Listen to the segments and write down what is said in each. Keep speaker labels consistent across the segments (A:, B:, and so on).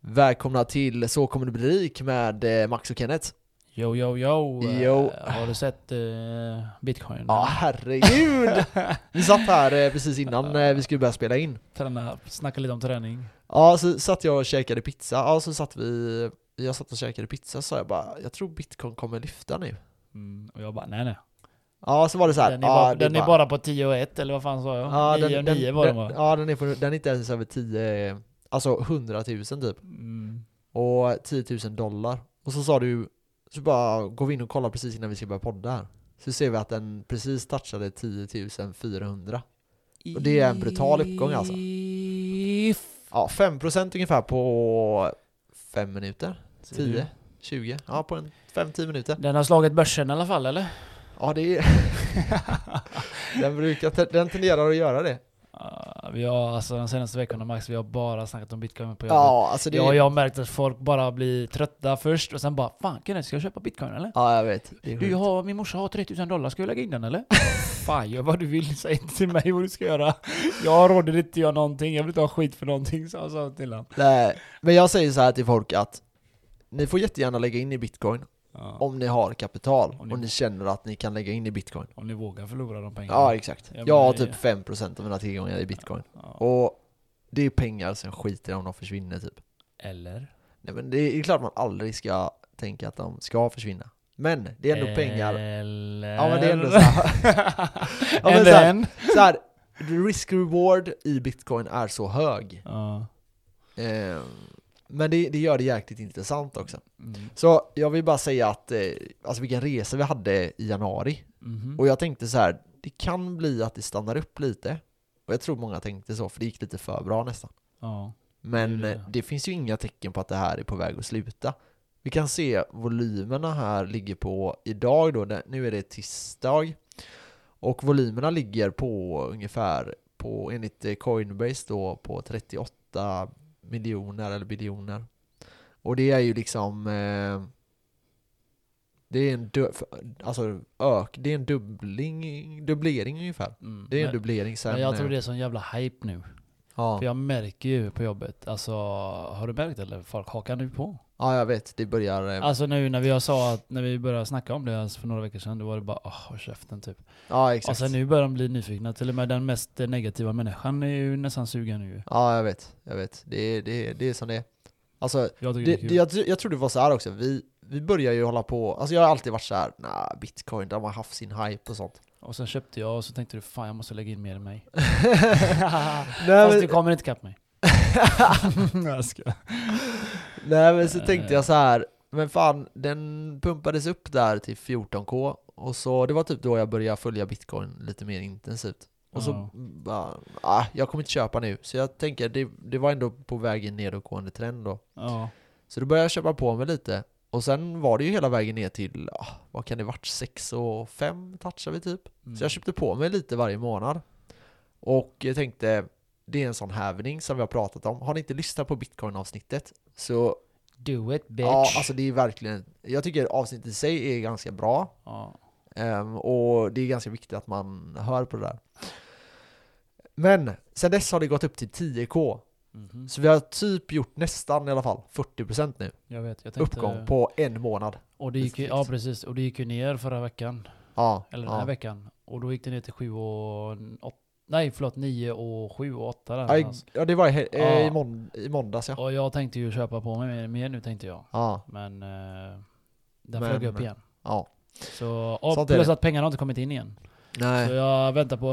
A: Välkomna till Så kommer du bli rik med eh, Max och Kenneth.
B: Yo, yo, yo. Eh,
A: Yo.
B: har du sett eh, bitcoin?
A: Ja, herregud! Vi satt här eh, precis innan eh, vi skulle börja spela in.
B: Träna, snacka lite om träning.
A: Ja, så satt jag och käkade pizza. Ja, så satt vi... Jag satt och käkade pizza så sa jag bara, jag tror bitcoin kommer lyfta nu.
B: Mm, och jag bara, nej nej.
A: Ja, så var det så här.
B: Den är,
A: ja,
B: bara,
A: det
B: den är bara på 10 och 1 eller vad fan sa jag?
A: Ja,
B: 9 och 9 var den
A: den,
B: va?
A: ja, den är, på, den är inte ens över 10... eh, Alltså 100 000 typ.
B: Mm.
A: Och 10 000 dollar. Och så sa du... Så bara går vi in och kollar precis innan vi ska börja podda här. Så ser vi att den precis touchade 10 400. Och det är en brutal uppgång, alltså.
B: If-
A: Ja, 5% ungefär på 5 minuter,
B: Ser du?
A: 10, 20, ja på en 5-10 minuter.
B: Den har slagit börsen i alla fall eller?
A: Ja, det är... den brukar, den tenderar att göra det.
B: Ja, vi har, alltså, de senaste veckorna Max, vi har bara snackat om bitcoin på jobbet.
A: Ja, alltså det
B: Jag,
A: är...
B: jag har märkt att folk bara blir trötta först och sen bara Fan Kenneth, ska jag köpa bitcoin eller?
A: Ja, jag vet. Det är
B: Du, jag
A: sjukt.
B: har, min morsa har 3000 dollar, ska jag lägga in den eller? Fan, gör vad du vill, säg inte till mig vad du ska göra. Jag råder inte göra någonting, jag vill inte ha skit för någonting, sa jag sa till honom.
A: Nej, men jag säger så här till folk att ni får jättegärna lägga in i bitcoin
B: Ja.
A: om ni har kapital
B: Om ni-
A: och ni känner att ni kan lägga in i bitcoin.
B: Om ni vågar förlora de pengarna.
A: Ja, exakt.
B: Ja, men
A: Jag har
B: det-
A: typ 5% av mina tillgångar i bitcoin.
B: Ja.
A: Och det är pengar som skiter i om de försvinner typ.
B: Eller?
A: Nej men det är klart man aldrig ska tänka att de ska försvinna. Men det är
B: Eh.
A: ändå pengar.
B: Eller?
A: Ja men det är ändå så här. Ja, men
B: And
A: så här-
B: then?
A: Så här risk-reward i bitcoin är så hög.
B: Ja.
A: Eh, men det, det gör det jäkligt intressant också.
B: Mm.
A: Så jag vill bara säga att, eh, alltså vilken resa vi hade i januari.
B: Mhm.
A: Och jag tänkte så här, det kan bli att det stannar upp lite. Och jag tror många tänkte så, för det gick lite för bra nästan.
B: Ja.
A: Men
B: Det är
A: det,
B: det.
A: det finns ju inga tecken på att det här är på väg att sluta. Vi kan se volymerna här ligger på idag då, det- nu är det tisdag. Och volymerna ligger på ungefär, på, enligt eh, Coinbase då, på 38 miljoner eller biljoner. Och det är ju liksom eh, det är en, du, alltså, ök, det är en dubbling, dubblering ungefär.
B: Mm.
A: Det är en
B: men,
A: dubblering sen.
B: men jag tror
A: eh,
B: det är sån jävla hype nu.
A: ja.
B: För jag märker ju på jobbet, alltså har du märkt eller? Folk hakar nu på.
A: ja, jag vet. Det börjar... eh,
B: Alltså nu när vi jag sa att, när vi började snacka om det alltså för några veckor sedan, då var det bara åh, håll käften typ.
A: ja, exakt.
B: Och sen nu börjar de bli nyfikna, till och med den mest eh, negativa människan är ju nästan sugen nu.
A: Ja, jag vet. Jag vet. Det, är- det, är- det är som det är. Alltså,
B: Jag tycker det,
A: det,
B: är kul.
A: det, jag, tr- jag tror det var så här också. Vi, vi börjar ju hålla på, alltså jag har alltid varit så här, nah, bitcoin, de har haft sin hype och sånt.
B: Och sen köpte jag och så tänkte du fan jag måste lägga in mer än mig.
A: nej,
B: Fast du
A: men,
B: kommer inte ikapp mig. jag ska.
A: nej men så tänkte
B: Eh.
A: jag så här, men fan, den pumpades upp där till 14k och så det var typ då jag började följa bitcoin lite mer intensivt. Och så
B: Ja.
A: bara, ah, jag kommer inte köpa nu. Så jag tänker, det, det var ändå på väg i en nedåtgående trend då.
B: Ja.
A: Så då började jag köpa på mig lite. Och sen var det ju hela vägen ner till, ah, vad kan det varit, 6 och 5 touchar vi typ.
B: Mm.
A: Så jag köpte på mig lite varje månad. Och jag tänkte, det är en sån hävning som vi har pratat om. Har ni inte lyssnat på bitcoin-avsnittet så,
B: Do it bitch.
A: ja alltså det är verkligen, jag tycker avsnittet i sig är ganska bra.
B: Ja.
A: Ehm, och det är ganska viktigt att man hör på det där. Men sen dess har det gått upp till 10k.
B: Mhm.
A: Så vi har typ gjort nästan i alla fall 40% nu.
B: Jag vet, jag tänkte...
A: Uppgång på en månad.
B: Och det gick ju, ja precis, och det gick ju ner förra veckan.
A: Ja,
B: Eller den
A: ja.
B: här veckan. Och då gick det ner till 7 och... åt- Nej förlåt, 9 och 7 och 8 där.
A: Ja, i-
B: någonstans.
A: ja, det var i, hel- eh,
B: alltså. Ja.
A: i, månd i måndags ja.
B: Och jag tänkte ju köpa på mig mer, mer nu tänkte jag.
A: Ja,
B: Men eh, den
A: Men-
B: flög upp igen.
A: ja.
B: Så, och
A: Sånt är
B: plus
A: det.
B: att pengarna har inte kommit in igen. Så
A: Nej.
B: jag väntar på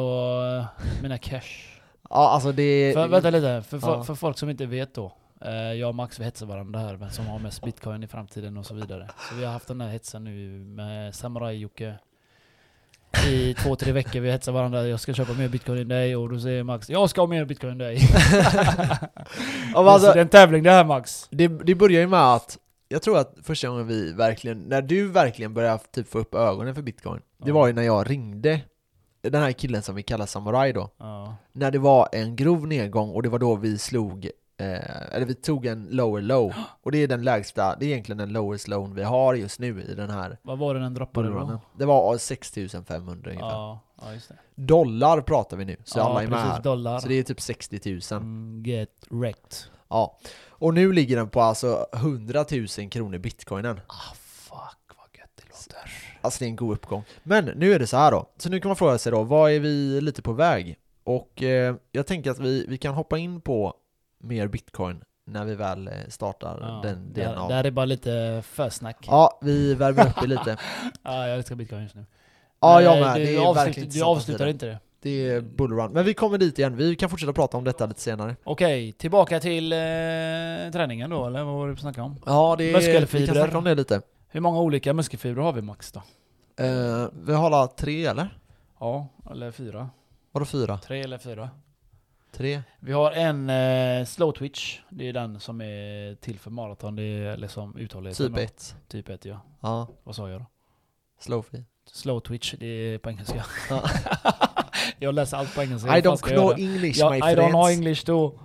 B: eh, mina cash.
A: Ja, alltså det...
B: För, vänta lite, för, för,
A: Ja.
B: för folk som inte vet då. eh, Jag och Max vi hetsar varandra här, vem som har mest bitcoin i framtiden och så vidare. Så vi har haft den här hetsen nu med Samurai-Jocke i två, tre veckor. Vi hetsar varandra, jag ska köpa mer bitcoin än dig och då säger Max, jag ska ha mer bitcoin än dig.
A: ja, men
B: Alltså,
A: alltså,
B: det är en tävling det här Max.
A: det, det börjar ju med att jag tror att första gången vi verkligen, när du verkligen började typ få upp ögonen för bitcoin, det
B: Ja.
A: var ju när jag ringde den här killen som vi kallar Samurai då,
B: Ja.
A: när det var en grov nedgång och det var då vi slog, eh, eller vi tog en lower low, och det är den lägsta, det är egentligen den lowest low vi har just nu i den här
B: Vad var det den droppade
A: bullrunnen.
B: då?
A: Det var 6500 ungefär.
B: Ja, ja, just det.
A: Dollar pratar vi nu, så
B: ja,
A: alla är med
B: precis,
A: här.
B: dollar.
A: Så det är typ 60 000.
B: Mm, Get wrecked.
A: Ja, Ja. Och nu ligger den på alltså 100 000 kronor bitcoinen.
B: Ah fuck vad gött det låter.
A: Alltså det är en god uppgång. Men nu är det så här då. Så nu kan man fråga sig då, vad är vi lite på väg? Och eh, jag tänker att vi, vi kan hoppa in på mer bitcoin när vi väl eh, startar
B: Ja,
A: den
B: det,
A: delen
B: här,
A: av...
B: det här är bara lite försnack. Ja.
A: Ja, vi värmer upp det lite.
B: jag älskar bitcoin just nu.
A: Ja,
B: Men,
A: jag
B: eh,
A: med.
B: Du,
A: Det är
B: avslut,
A: verkligen
B: du
A: intressant
B: avslutar
A: att
B: inte det.
A: Det är bullrun. Men vi kommer dit igen. Vi kan fortsätta prata om detta lite senare.
B: Okej, tillbaka till eh, träningen då, eller vad var det vi snackade om?
A: Ja, det är, vi
B: Muskelfibrer.
A: kan snacka om det lite.
B: Hur många olika muskelfibrer har vi max då?
A: Eh, vi har alla tre eller?
B: Ja, eller fyra.
A: Vadå fyra?
B: Tre eller fyra.
A: Tre?
B: Vi har en eh, slow twitch, det är den som är till för maraton, det är liksom uthålligheten.
A: Typ ett.
B: Typ ett, ja.
A: Ja,
B: Vad sa jag då?
A: slowfee.
B: Slow twitch, det är på engelska.
A: Ja.
B: jag läser allt på engelska.
A: I
B: Vad fan
A: don't
B: ska jag göra?
A: know English
B: Ja,
A: my
B: I don't
A: friends.
B: know English då. Och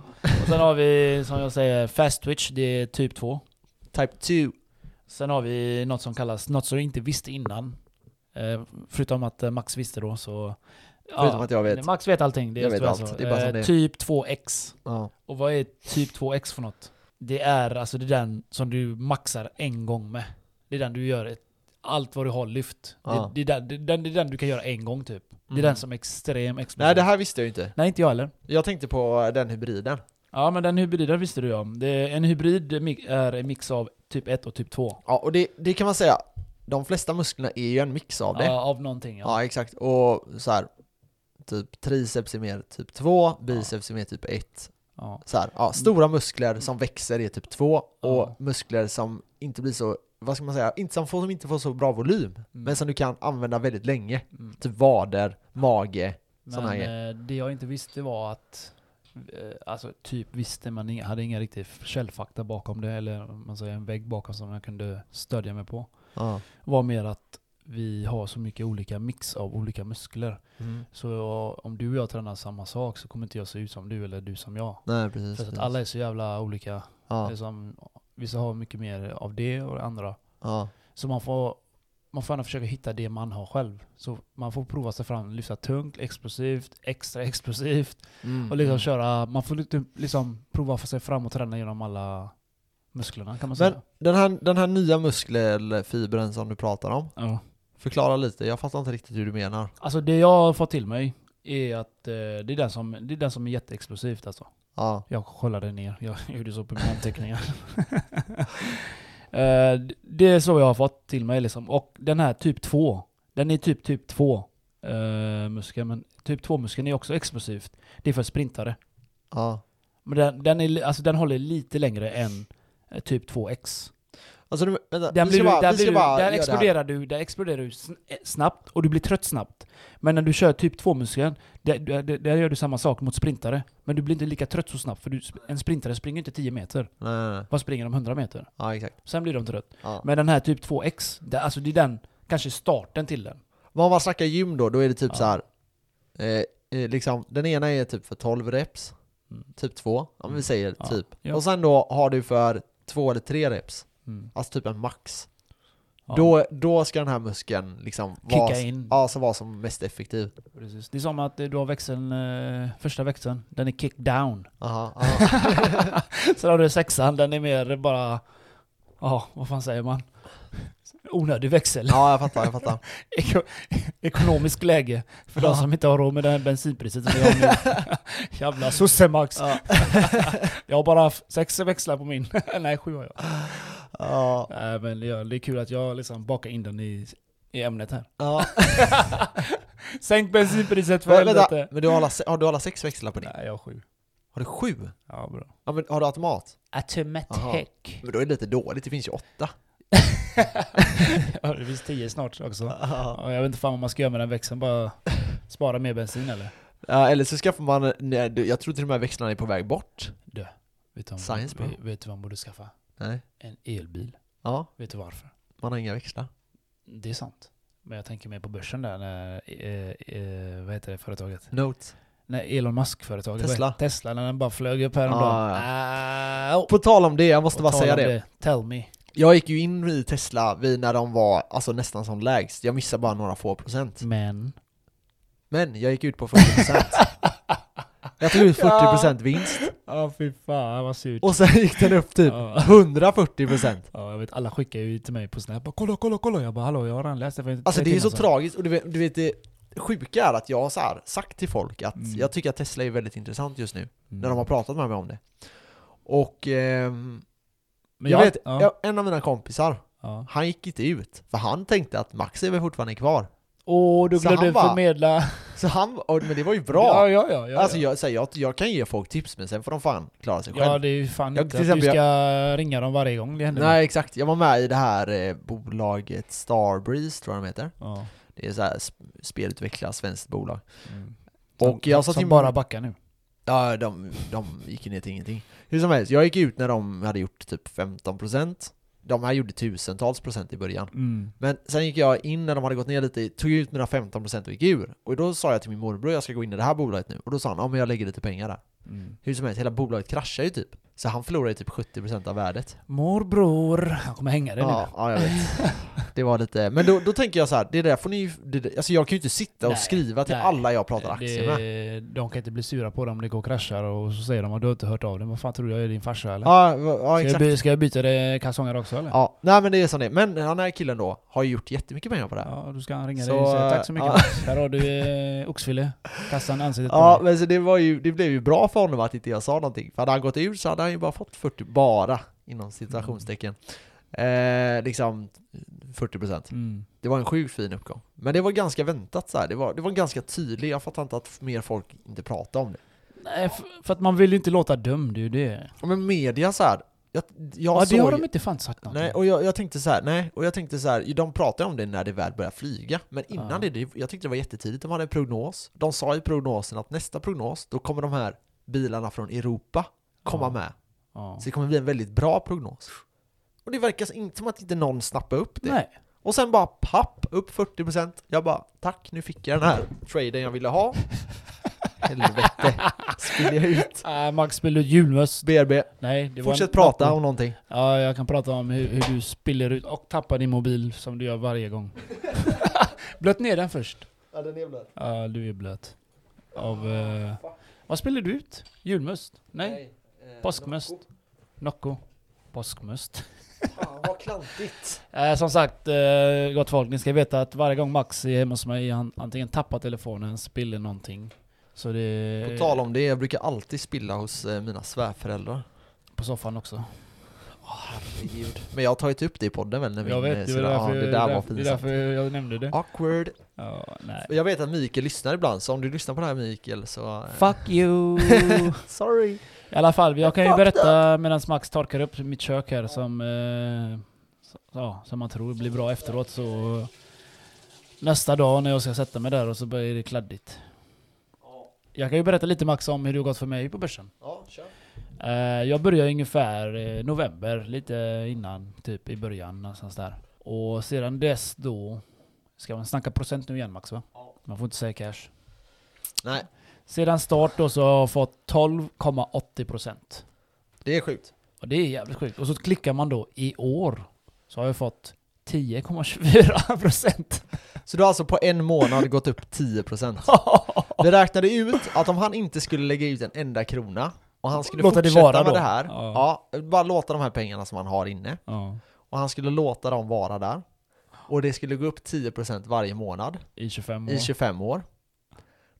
B: sen har vi, som jag säger, fast twitch, det är typ 2.
A: Type 2.
B: Sen har vi något som kallas, något som du inte visste innan. Eh, förutom att eh, Max visste då så...
A: Förutom att jag vet.
B: Max vet allting. Det är
A: Jag vet
B: tyvärr
A: allt.
B: så.
A: Det är bara som
B: Eh,
A: det är.
B: Typ 2x.
A: Ja.
B: Och vad är typ 2x för något? Det är alltså det är den som du maxar en gång med. Det är den du gör ett, allt vad du har lyft.
A: Ja.
B: Det, det, är den, det, är den, det är den du kan göra en gång typ. Det
A: Mm.
B: är den som är extrem explosiv.
A: Nej, det här visste jag ju inte.
B: Nej, inte jag heller.
A: Jag tänkte på den hybriden.
B: Ja men den hybriden visste du ju om. Det är en hybrid mi- är en mix av typ 1 och typ 2.
A: Ja, och det, det kan man säga. De flesta musklerna är ju en mix av det. Ja,
B: Ja, av någonting ja.
A: exakt. Och så här, typ triceps är mer typ 2, biceps är mer typ 1.
B: Ja.
A: Så här, ja, stora muskler som växer är typ 2 och
B: Ja.
A: muskler som inte blir så, vad ska man säga, inte som, får, som inte får så bra volym, men som du kan använda väldigt länge.
B: Mm.
A: Typ vader, mage, sån här
B: Men
A: grejer.
B: eh, det jag inte visste var att eh, Alltså typ visste man inga, hade inga riktiga källfakta bakom det eller om man säger en vägg bakom som jag kunde stödja mig på.
A: Ja.
B: Var mer att vi har så mycket olika mix av olika muskler.
A: Mm.
B: Så jag, om du och jag tränar samma sak så kommer inte jag se ut som du eller du som jag.
A: Nej, precis.
B: För att
A: precis.
B: alla är så jävla olika.
A: ja,
B: Liksom, vissa har mycket mer av det och andra
A: ja.
B: Så man får, man får gärna försöka hitta det man har själv. Så man får prova sig fram, lyfta tungt, explosivt, extra explosivt.
A: Mm.
B: Och liksom
A: Mm.
B: köra, man får lite, liksom prova för sig fram och träna genom alla musklerna kan man
A: Men-
B: säga.
A: Den här, den här nya muskelfibren som du pratar om,
B: Ja.
A: förklara lite, jag fattar inte riktigt hur du menar.
B: Alltså det jag har fått till mig är att eh, det, är den som, det är den som är jätteexplosivt alltså.
A: Ja,
B: Jag kollade ner, jag gjorde så på mina anteckningar. Eh, d- det är så jag har fått till mig liksom. Och den här typ 2, den är typ typ 2 uh, muskeln, men typ 2-muskeln är också explosivt. Det är för sprintare.
A: ja.
B: Men den, den, är, li- alltså, den håller lite längre än eh, typ 2x.
A: Alltså, du- vänta,
B: Där,
A: vi
B: blir
A: ska
B: du,
A: bara,
B: där,
A: vi ska
B: blir du,
A: bara
B: där,
A: göra det här.
B: exploderar du, där exploderar du sn- eh, snabbt och du blir trött snabbt. Men när du kör typ 2-muskeln, där, där, där där gör du samma sak mot sprintare. Men du blir inte lika trött så snabbt, för du, en sprintare springer inte 10 meter.
A: Nej, nej, nej.
B: Vad springer de 100 meter?
A: Ja, exakt.
B: Sen blir de trött.
A: Ja.
B: Men den här typ 2x, det, alltså det är den, kanske starten till den.
A: Men om man snackar gym då, då är det typ
B: Ja.
A: så här. Eh, eh, liksom, den ena är typ för 12 reps,
B: Mm.
A: typ 2, om vi
B: Mm.
A: säger
B: Ja.
A: typ.
B: Ja. Mm.
A: Och sen då har du för 2 eller 3 reps, alltså typ en max.
B: Ja,
A: Då, då ska den här muskeln liksom
B: Kicka
A: vara,
B: in.
A: Ja, så vara som mest effektiv.
B: precis. Det är som att eh, du har växeln, eh, första växeln, den är kick down.
A: Aha, aha.
B: Sen har du sexan, den är mer bara, ja vad fan säger man? Onödig växel.
A: ja, jag fattar, jag fattar.
B: Eko, ekonomisk läge för de
A: Ja.
B: som inte har råd med det här bensinpriset som vi har nu. Jävla sossemax.
A: Ja.
B: Jag har bara haft sex växlar på min. Nej, sju har jag.
A: Ja,
B: Nej men ja, det är kul att jag liksom bakar in den i, i ämnet här.
A: ja.
B: Sänk bensinpriset för
A: Men, vänta,
B: helvete!
A: men du har, alla, se- har du alla sex växlar på din?
B: Nej jag har sju.
A: Har du sju?
B: Ja bra.
A: Ja, men har du automat?
B: Automatic.
A: Men då är det lite dåligt, det finns ju åtta.
B: ja det finns tio snart också.
A: Ja.
B: Ja, jag vet inte fan vad man ska göra med den växeln, bara spara mer bensin eller?
A: eller så skaffar man, nej, du, jag tror till och med växlarna är på väg bort.
B: Du, vet du,
A: Science, bro.
B: vad, vet, vet du vad man borde skaffa?
A: Nej.
B: En elbil.
A: Ja,
B: Vet du varför?
A: man har inga växlar.
B: Det är sant. Men jag tänker mer på börsen där när, eh, eh, vad heter det företaget?
A: Notes.
B: När Elon Musk-företaget.
A: Tesla.
B: vad heter- Tesla, när den bara flög upp häromdagen.
A: Ah,
B: Ah, oh.
A: På tal om det, jag måste bara
B: Och tala
A: säga
B: om
A: det.
B: Tell me.
A: Jag gick ju in i Tesla vid när de var alltså, nästan som lägst. Jag missade bara några få procent.
B: Men.
A: Men jag gick ut på 40 procent. jag tog ut 40
B: Ja.
A: procent vinst.
B: Ja fy fan vad surt.
A: Och sen gick den upp typ
B: Ja.
A: 140%
B: Ja, jag vet, alla skickar ju till mig på Snap bara, 'Kolla, kolla, kolla' Jag bara 'Hallå, jag har redan läst det för
A: Alltså
B: tre
A: det är ju så
B: timmar sedan."
A: tragiskt och du vet, du vet det sjuka är att jag har så här sagt till folk att
B: Mm.
A: jag tycker att Tesla är väldigt intressant just nu
B: Mm.
A: när de har pratat med mig om det. Och ehm,
B: Men
A: jag, vet,
B: ja,
A: jag, en av mina kompisar,
B: ja.
A: han gick inte ut för han tänkte att Max är väl fortfarande kvar.
B: Åh, du
A: Så han
B: glömde
A: bara-
B: förmedla...
A: Så han, och, men det var ju bra.
B: Ja, ja, ja. ja,
A: Alltså
B: ja.
A: jag, så här, jag, jag kan ge folk tips men sen får de fan klara sig
B: ja,
A: själv.
B: det är ju fan
A: Jag-
B: inte
A: till
B: att du
A: exempel
B: ska ringa dem varje gång det händer. något.
A: Nej exakt, jag var med i det här eh, bolaget Starbreeze tror jag de heter.
B: Ja.
A: Det är så här sp- spelutvecklat svenskt bolag.
B: Mm.
A: Och jag sa
B: som
A: till
B: bara backar nu.
A: Ja, de, de gick ju ner till ingenting. Hur som helst, jag gick ut när de hade gjort typ 15%. De här gjorde tusentals procent i början.
B: Mm.
A: Men sen gick jag in när de hade gått ner lite, tog ut mina 15% och gick ur. Och då sa jag till min morbror jag ska gå in i det här bolaget nu. Och då sa han ja men jag lägger lite pengar där.
B: Mm.
A: Hur som helst, hela bolaget kraschar ju typ. Så han förlorade ju typ 70% av värdet.
B: Morbror, han kommer hänga dig
A: Ja,
B: nu.
A: ja, jag vet. Det var lite, men då, då tänker jag så här, det där får ni ju, det, där- alltså jag kan ju inte sitta och
B: Nej,
A: skriva till
B: nej.
A: alla jag pratar aktier med.
B: det, de kan inte bli sura på dig om det går och kraschar och så säger de att du har inte hört av dig. Vad fan tror du, jag är din farsa eller?
A: Ja, ja,
B: ska, jag
A: exakt.
B: by, ska jag byta det kalsonger också eller?
A: Ja, nej men det är som det är. Men den här killen då har ju gjort jättemycket pengar på det här.
B: Ja, då ska han ringa
A: Så,
B: dig och säga tack så mycket
A: ja.
B: Max. Här har du eh, oxfilé. Kasta en ansiktet
A: Ja,
B: på
A: men så det, var ju, det blev ju bra för honom att inte jag sa någonting. För hade han gått ur så hade han ju bara fått 40, bara inom citationstecken. Eh, liksom 40 procent.
B: dig. Mm.
A: Det var en sjukt fin uppgång. Men det var ganska väntat så här. Det var, det var ganska tydligt. Jag fattar inte att mer folk inte pratar om det.
B: Nej, f- för att man vill ju inte låta dömd, det är ju det.
A: Ja, Men media så här. Jag, jag
B: Ja, det
A: såg,
B: har de inte fan sagt någonting.
A: Nej, och jag, jag tänkte så här, nej, och jag tänkte så här, de pratade om det när det väl började flyga, men innan
B: Ja.
A: det, det, jag tyckte det var jättetidigt, de hade en prognos, de sa i prognosen att nästa prognos, då kommer de här bilarna från Europa komma
B: Ja.
A: med.
B: ja.
A: Så det kommer bli en väldigt bra prognos. Och det verkar så- inte som att inte någon snappar upp det.
B: Nej.
A: Och sen bara papp, upp 40%. Jag bara, tack, nu fick jag den här traden jag ville ha. Helvete, spiller jag ut.
B: Äh, Max spiller ut julmöss.
A: BRB,
B: Nej, det var
A: fortsätt
B: en-
A: prata om någonting.
B: Ja, jag kan prata om hur, hur du spiller ut och tappar din mobil som du gör varje gång. blöt ner den först.
A: Ja, den är
B: Ja, du är blöt. Av... eh, vad spelar du ut? Julmust? Nej?
A: eh,
B: Påskmust. Nocco? Påskmust?
A: Fan, vad klantigt.
B: Eh, som sagt, eh, gott folk, ni ska veta att varje gång Max är hemma hos mig, han antingen tappar telefonen, spiller någonting. Så det...
A: På tal om det, jag brukar alltid spilla hos eh, mina svärföräldrar.
B: På soffan också.
A: Herregud. Men jag har tagit upp det i podden väl? När
B: Jag
A: min, eh,
B: vet, det, var
A: syrra-
B: därför,
A: ja, det där var
B: därför, det är
A: pinsamt.
B: därför jag nämnde det.
A: Awkward.
B: Ja, nej.
A: Jag vet att Mikael lyssnar ibland, så om du lyssnar på det här Mikael så... eh,
B: Fuck you!
A: Sorry.
B: I alla fall, jag kan ju
A: Fuck
B: berätta medan Max torkar upp mitt kök här som, eh, så- ja, som man tror blir bra efteråt så nästa dag när jag ska sätta mig där och så börjar det kladdigt. Jag kan ju berätta lite Max om hur det har gått för mig på börsen.
A: Ja, kör.
B: Eh, jag började ungefär eh, november, lite innan, typ i början någonstans där. Och sedan dess då, ska man snacka procent nu igen Max va?
A: Ja.
B: Man får inte säga cash.
A: Nej,
B: Sedan start då så har jag fått 12,80%.
A: det är sjukt.
B: Och det är jävligt sjukt. Och så klickar man då i år så har jag fått 10,24%.
A: Så du har alltså på en månad gått upp 10%. Vi räknade ut att om han inte skulle lägga ut en enda krona och han skulle
B: Låta det
A: fortsätta
B: vara
A: med
B: då.
A: det här,
B: Ja.
A: ja, bara låta de här pengarna som han har inne,
B: Ja,
A: och han skulle låta dem vara där. Och det skulle gå upp 10% varje månad
B: i 25 år.
A: i 25 år.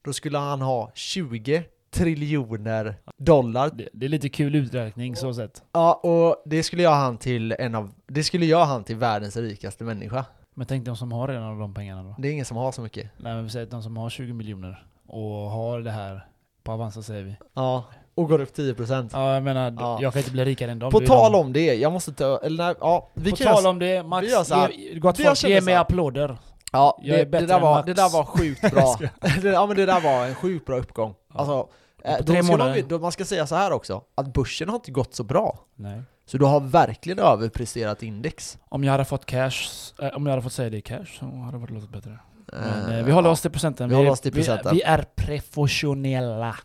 A: Då skulle han ha 20 triljoner dollar.
B: Det, det är lite kul uträkning så sett.
A: Ja, och det skulle göra han till en av, det skulle göra han till världens rikaste människa.
B: Men tänk de som har redan de pengarna då.
A: Det är ingen som har så mycket.
B: Nej men vi säger att de som har 20 miljoner och har det här på Avanza säger vi.
A: Ja, och går upp 10%.
B: Ja jag menar,
A: Ja.
B: jag kan inte bli rikare än dem.
A: På
B: Det är de-
A: tal om det, jag måste ta, eller nej, ja, vi
B: på
A: kan
B: tal
A: göra-
B: om det, Max,
A: vi gör så här.
B: ge, gott
A: Vi
B: folk,
A: känner
B: ge
A: så
B: mig
A: här.
B: applåder.
A: Ja,
B: Jag
A: det,
B: är bättre
A: det, där
B: än
A: var,
B: Max.
A: det där var sjukt bra. det, ja men det där var en sjukt bra uppgång.
B: Ja.
A: Alltså, eh,
B: på
A: då
B: tre
A: ska man,
B: månader.
A: ju- då man ska säga så här också, att börsen har inte gått så bra.
B: Nej.
A: Så du har verkligen överpresterat index.
B: Om jag hade fått cash, eh, om jag hade fått säga det i cash så hade det varit låtit bättre. Men,
A: Eh,
B: eh, vi håller oss till procenten.
A: Vi håller oss till
B: Vi,
A: procenten.
B: vi är professionella.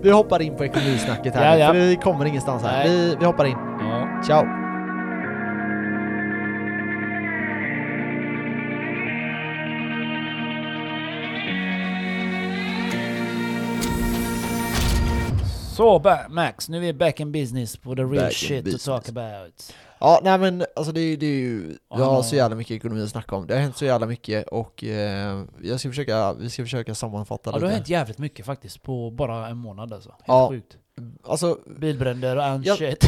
A: Vi hoppar in på ekonomisnacket här
B: Ja,
A: nu,
B: ja.
A: för vi kommer ingenstans här.
B: Nej.
A: Vi, vi hoppar in.
B: Ja.
A: Ciao!
B: Så ba- Max, nu är vi back in business på the real
A: Back in
B: shit to
A: business.
B: talk about.
A: Ja, nej men alltså det, är- det är ju, jag
B: Ja.
A: har så jävla mycket ekonomi att snacka om. Det har hänt så jävla mycket och eh, jag ska försöka, vi ska försöka sammanfatta
B: Ja, det har
A: lite.
B: hänt jävligt mycket faktiskt på bara en månad alltså. Helt
A: Ja.
B: sjukt.
A: Alltså,
B: Bilbränder och and
A: Ja.
B: shit.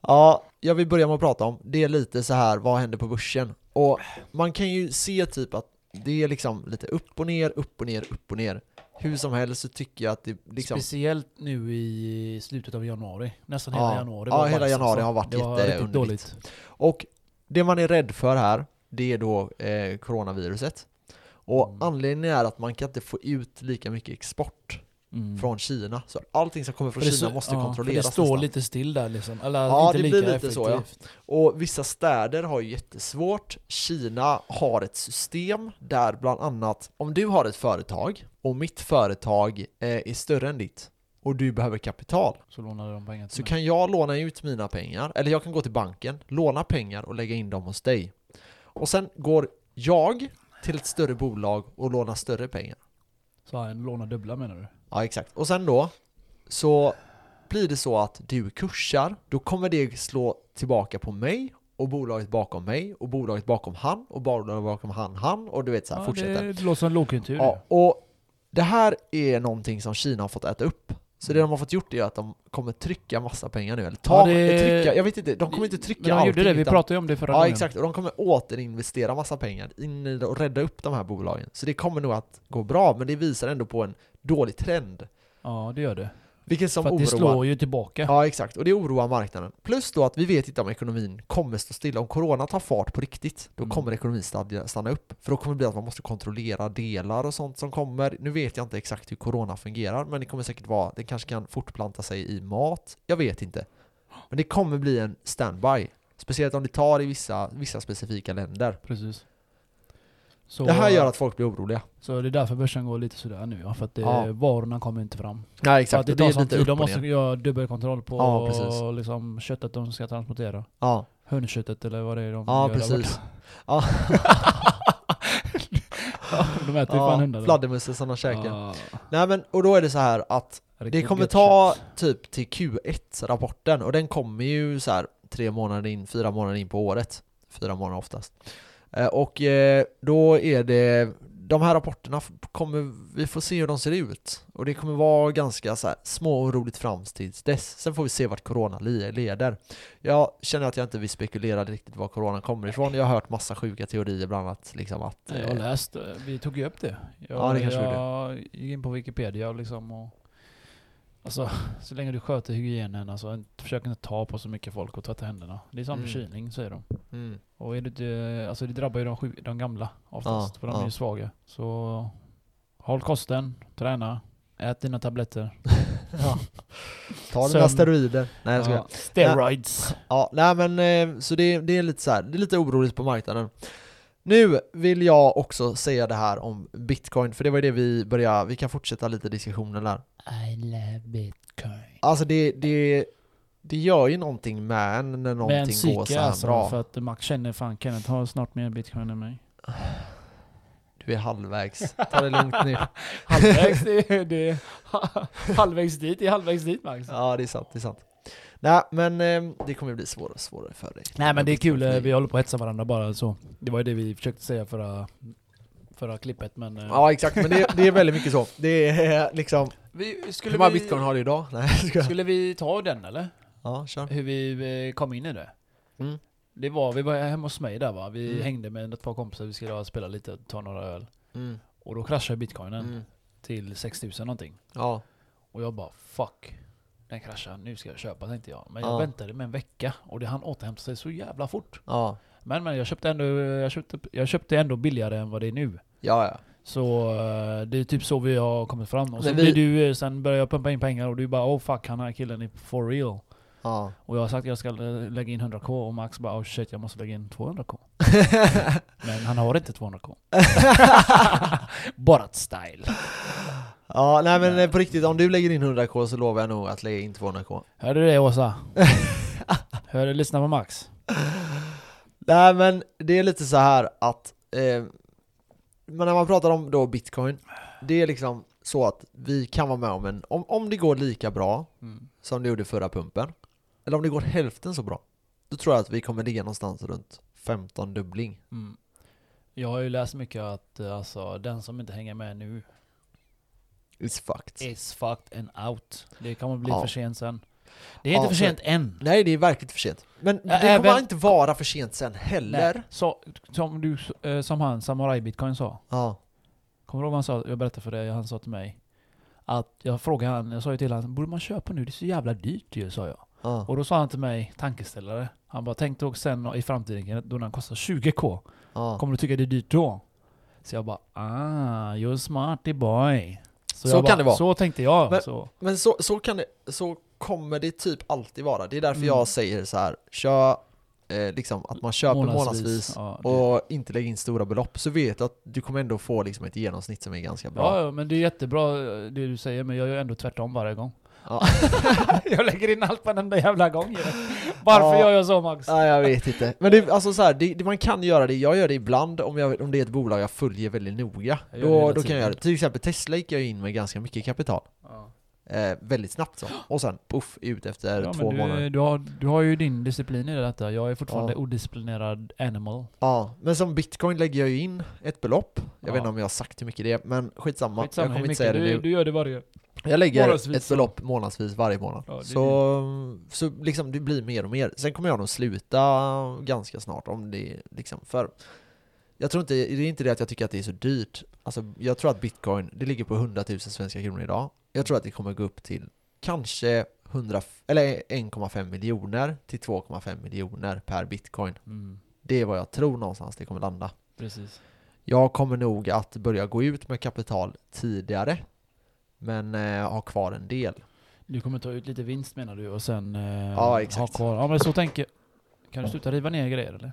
A: ja, jag vill börja med att prata om, det är lite så här, vad händer på börsen? Och man kan ju se typ att det är liksom lite upp och ner, upp och ner, upp och ner. Hur som helst så tycker jag att det liksom...
B: Speciellt nu i slutet av januari. Nästan hela
A: Ja.
B: januari.
A: Ja,
B: var
A: hela
B: bajs,
A: januari har varit
B: Det var
A: jätteunderligt.
B: riktigt dåligt.
A: Och det man är rädd för här, det är då eh, coronaviruset. Och
B: Mm.
A: anledningen är att man kan inte få ut lika mycket export
B: Mm.
A: från Kina. Så allting som kommer från
B: För det
A: Kina
B: så-
A: måste
B: ja, för
A: kontrolleras
B: Det står
A: nästan.
B: lite still där liksom. Eller
A: Ja,
B: inte
A: det
B: lika
A: blir lite så, ja.
B: effektivt.
A: Och vissa städer har ju jättesvårt. Kina har ett system där bland annat om du har ett företag och mitt företag eh, är större än ditt och du behöver kapital
B: Så lånade de pengar till
A: så
B: mig.
A: kan jag låna ut mina pengar, eller jag kan gå till banken, låna pengar och lägga in dem hos dig. Och sen går jag till ett större bolag och lånar större pengar.
B: Så han lånar dubbla menar du?
A: Ja, exakt. Och sen då så blir det så att du kursar, då kommer det slå tillbaka på mig och bolaget bakom mig och bolaget bakom han och bolaget bakom han, han och du vet så här, fortsätter.
B: Det låter som en lågkonjunktur.
A: Ja, och det här är någonting som Kina har fått äta upp. Så det de har fått gjort är att de kommer trycka massa pengar nu, eller ta, eh,
B: Ja, det-
A: trycka, jag vet inte, de kommer inte trycka
B: Men de gjorde det, vi
A: utan-
B: pratade ju om det förra
A: Ja
B: gången.
A: exakt, och de kommer återinvestera massa pengar in i det och rädda upp de här bolagen. Så det kommer nog att gå bra, men det visar ändå på en dålig trend.
B: Ja, det gör det.
A: Vilket som
B: För att
A: oroar...
B: det slår ju tillbaka.
A: Ja exakt, och det oroar marknaden. Plus då att vi vet inte om ekonomin kommer stå stilla. Om corona tar fart på riktigt, då
B: Mm.
A: kommer ekonomin stadga- stanna upp. För då kommer det bli att man måste kontrollera delar och sånt som kommer. Nu vet jag inte exakt hur corona fungerar, men det kommer säkert vara, det kanske kan fortplanta sig i mat. Jag vet inte. Men det kommer bli en standby. Speciellt om det tar i vissa, vissa specifika länder.
B: Precis. Så
A: Det här gör att folk blir oroliga.
B: Så det är därför börsen går lite sådär nu ja, för att det,
A: Ja.
B: varorna kommer inte fram.
A: Nej
B: Så att
A: exakt,
B: det
A: och det
B: tar
A: är
B: sån
A: lite
B: tid,
A: upp
B: de
A: och
B: måste
A: ner.
B: göra dubbelkontroll på
A: Ja, precis.
B: liksom, köttet de ska transportera.
A: Ja,
B: Hundköttet eller vad det är de
A: ja
B: gör där
A: precis.
B: borta. de äter ju fan
A: Ja,
B: hundar. där.
A: Fladdermössen som de käkar.
B: Ja,
A: Nej men, och då är det så här att Det
B: riktigt
A: kommer
B: gött
A: ta
B: kött.
A: typ till Q1-rapporten och den kommer ju så här tre månader in, fyra månader in på året. Fyra månader oftast. Eh, Och eh, då är det, de här rapporterna f- kommer, vi får se hur de ser ut. Och det kommer vara ganska så här små och roligt fram tills dess. Sen får vi se vart corona li- leder. Jag känner att jag inte vill spekulera riktigt var corona kommer ifrån. Jag har hört massa sjuka teorier bland annat liksom att...
B: Nej, Jag har
A: eh,
B: läst, eh, vi tog ju upp det. Jag,
A: Ja, det kanske vi
B: jag gick in på Wikipedia och liksom och Alltså, så länge du sköter hygienen, alltså, inte- försök inte ta på så mycket folk och tvätta händerna. Det är som
A: Mm.
B: förkylning säger de.
A: mm,
B: Och är det, inte- alltså det drabbar ju de, sju, de gamla oftast,
A: Ja,
B: för de är
A: ja.
B: ju svaga. Så håll kosten, träna, ät dina tabletter.
A: ta dina
B: Sömn.
A: steroider. Nej jag skojar.
B: Ja, steroids.
A: Ja, nej men eh, så det, det är lite så här, det är lite oroligt på marknaden. Nu vill jag också säga det här om bitcoin, för det var ju det vi började, vi kan fortsätta lite diskussionen där.
B: I love bitcoin.
A: Alltså det, det, det gör ju någonting med en när
B: Men
A: någonting går så
B: psyke
A: här
B: alltså,
A: bra.
B: för att Max känner fan Kenneth har snart mer bitcoin än mig.
A: Du är halvvägs, ta det lugnt nu.
B: Halvvägs, det, är- det, är- halvvägs dit, det är halvvägs dit Max.
A: Ja, det är sant, det är sant. Nej, men eh, det kommer ju bli svårare och svårare för dig.
B: Nej men det är kul, eh, vi håller på att hetsa varandra bara så. Det var ju det vi försökte säga förra, förra klippet men... eh,
A: Ja, exakt, men det, det är väldigt mycket så. Det är eh, liksom,
B: vi,
A: hur många bitcoin har du idag? Nej, jag skojar.
B: Skulle vi ta den eller?
A: Ja, kör.
B: Hur vi eh, kom in i det?
A: Mm.
B: Det var, vi var hemma hos mig där va? Vi
A: Mm.
B: hängde med ett par kompisar, vi skulle spela lite och ta några öl.
A: Mm,
B: Och då kraschade bitcoinen
A: mm.
B: till 6000 någonting.
A: Ja,
B: Och jag bara fuck. Den kraschar, nu ska jag köpa tänkte jag. Men jag
A: Ja.
B: väntade med en vecka och det hann återhämta sig så jävla fort.
A: ja,
B: Men men jag köpte ändå, jag köpte, jag köpte ändå billigare än vad det är nu.
A: ja. ja.
B: Så eh, det är typ så vi har kommit fram. Och så
A: Men
B: blir
A: vi-
B: du, eh, sen börjar jag pumpa in pengar och du bara oh fuck han här killen är for real.
A: Ja.
B: Och jag har sagt att jag ska eh, lägga in 100k och Max bara oh shit jag måste lägga in 200k. Men han har inte 200k. Bara ett style.
A: ja, nej men eh, på riktigt, om du lägger in 100k så lovar jag nog att lägga in 200k.
B: Hör du det Åsa? Hör du lyssna på Max?
A: Nej men det är lite så här att, eh, men när man pratar om då bitcoin, det är liksom så att vi kan vara med om en, om, om det går lika bra
B: Mm,
A: som det gjorde förra pumpen, eller om det går hälften så bra, då tror jag att vi kommer ligga någonstans runt 15 dubbling.
B: Mm. Jag har ju läst mycket att eh, alltså, den som inte hänger med nu
A: It's fucked.
B: is fucked and out. Det kommer bli
A: Ja.
B: för sent sen. Det är
A: Ja,
B: inte för
A: för-
B: sent än.
A: Nej, det är verkligen för sent. Men det kommer
B: även-
A: inte vara för sent sen heller.
B: Nej. Så, som, du, eh, som han, Samurai Bitcoin sa.
A: Ja.
B: Kommer du ihåg vad han sa? Jag berättade för dig, han sa till mig. Att jag frågade han, jag sa ju till honom, borde man köpa nu? Det är så jävla dyrt ju, sa jag.
A: ja.
B: Och då sa han till mig, tankeställare. Han bara, tänk då sen i framtiden då den kostar 20k.
A: ja.
B: Kommer du tycka det är dyrt då? Så jag bara, ah, you're smarty boy.
A: Så
B: jag bara,
A: kan det vara.
B: Så tänkte jag.
A: Men-
B: så.
A: Men så, så kan det, så kommer det typ alltid vara. Det är därför
B: Mm.
A: jag säger så här, kör, eh, liksom att man köper månadsvis,
B: Ja, det-
A: och inte lägger in stora belopp så vet du att du kommer ändå få liksom ett genomsnitt som är ganska bra.
B: ja, ja, men det är jättebra eh, det du säger, men jag gör ändå tvärtom varje gång.
A: Ja.
B: jag lägger in allt varenda jävla gång. ju. Varför
A: Ja.
B: jag gör så Max?
A: Nej, jag vet inte. Men det, alltså så här, det, det, man kan göra det, jag gör det ibland om, jag, om det är ett bolag jag följer väldigt noga.
B: Jag gör det
A: Då,
B: hela
A: då kan
B: tiden.
A: jag göra det. Till exempel Tesla gick jag in med ganska mycket kapital. Eh, väldigt snabbt så. Och sen puff, ut efter
B: Ja,
A: två
B: men du,
A: månader.
B: du, har, du har ju din disciplin i detta. Jag är fortfarande
A: Ja.
B: odisciplinerad animal.
A: Ja, men som bitcoin lägger jag ju in ett belopp. Jag
B: Ja.
A: vet inte om jag har sagt hur mycket det är, men skitsamma.
B: Skitsamma,
A: jag kommer
B: hur
A: inte säga det
B: mycket
A: nu.
B: du, du gör det varje...
A: Jag lägger
B: Månadsvis,
A: ett belopp månadsvis varje månad.
B: Ja, det är
A: så så liksom det blir mer och mer. Sen kommer jag nog sluta ganska snart om det liksom för jag tror inte, det är inte det att jag tycker att det är så dyrt. Alltså jag tror att bitcoin, det ligger på 100 000 svenska kronor idag. Jag tror att det kommer gå upp till kanske 100, eller 1,5 miljoner till 2,5 miljoner per bitcoin.
B: Mm,
A: Det är vad jag tror någonstans det kommer landa.
B: precis.
A: Jag kommer nog att börja gå ut med kapital tidigare, men eh, ha kvar en del.
B: Du kommer ta ut lite vinst menar du och sen eh,
A: Ja, exakt.
B: ha kvar. Ja men så tänker Kan du sluta riva ner grejer eller?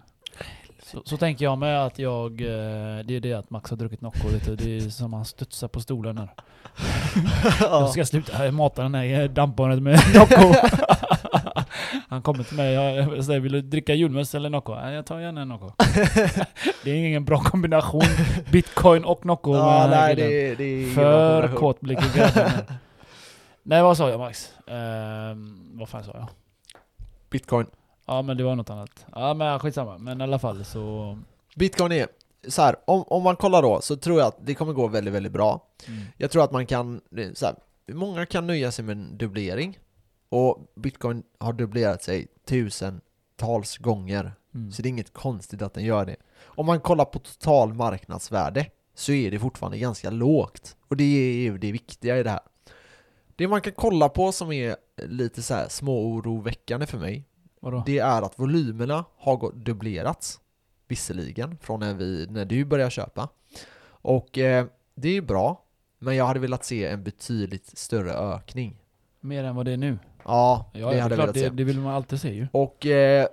B: Så, så tänker jag med att jag, eh, det är det att Max har druckit Nocco lite, det är som han studsar på stolen här. Jag ska sluta eh, mata den här eh, dampbarnet med Nocco. han kommer till mig och säger vill du dricka julmust eller Nocco? "Nej, Jag tar gärna en Nocco. det är ingen bra kombination, bitcoin och Nocco. med
A: Ja,
B: den här
A: nej,
B: killen.
A: det, det är ingen bra
B: För
A: kombination.
B: kåt blir grabben. Nej vad sa jag Max? Ehm, vad fan sa jag?
A: Bitcoin.
B: Ja men det var något annat. Ja men skitsamma. Men i alla fall så...
A: Bitcoin är så här, om, om man kollar då så tror jag att det kommer gå väldigt, väldigt bra.
B: Mm.
A: Jag tror att man kan, det är så här, många kan nöja sig med en dubblering och bitcoin har dubblerat sig tusentals gånger.
B: Mm.
A: Så det är inget konstigt att den gör det. Om man kollar på total marknadsvärde så är det fortfarande ganska lågt. Och det är ju det viktiga i det här. Det man kan kolla på som är lite så här småoroväckande för mig
B: Vadå?
A: det är att volymerna har gått- dubblerats visserligen från när, vi, när du började köpa. Och eh, det är bra, men jag hade velat se en betydligt större ökning.
B: Mer än vad det är nu?
A: Ja,
B: Ja
A: det
B: det,
A: hade jag
B: klart,
A: velat
B: det,
A: se.
B: det vill man alltid se ju.
A: Och eh,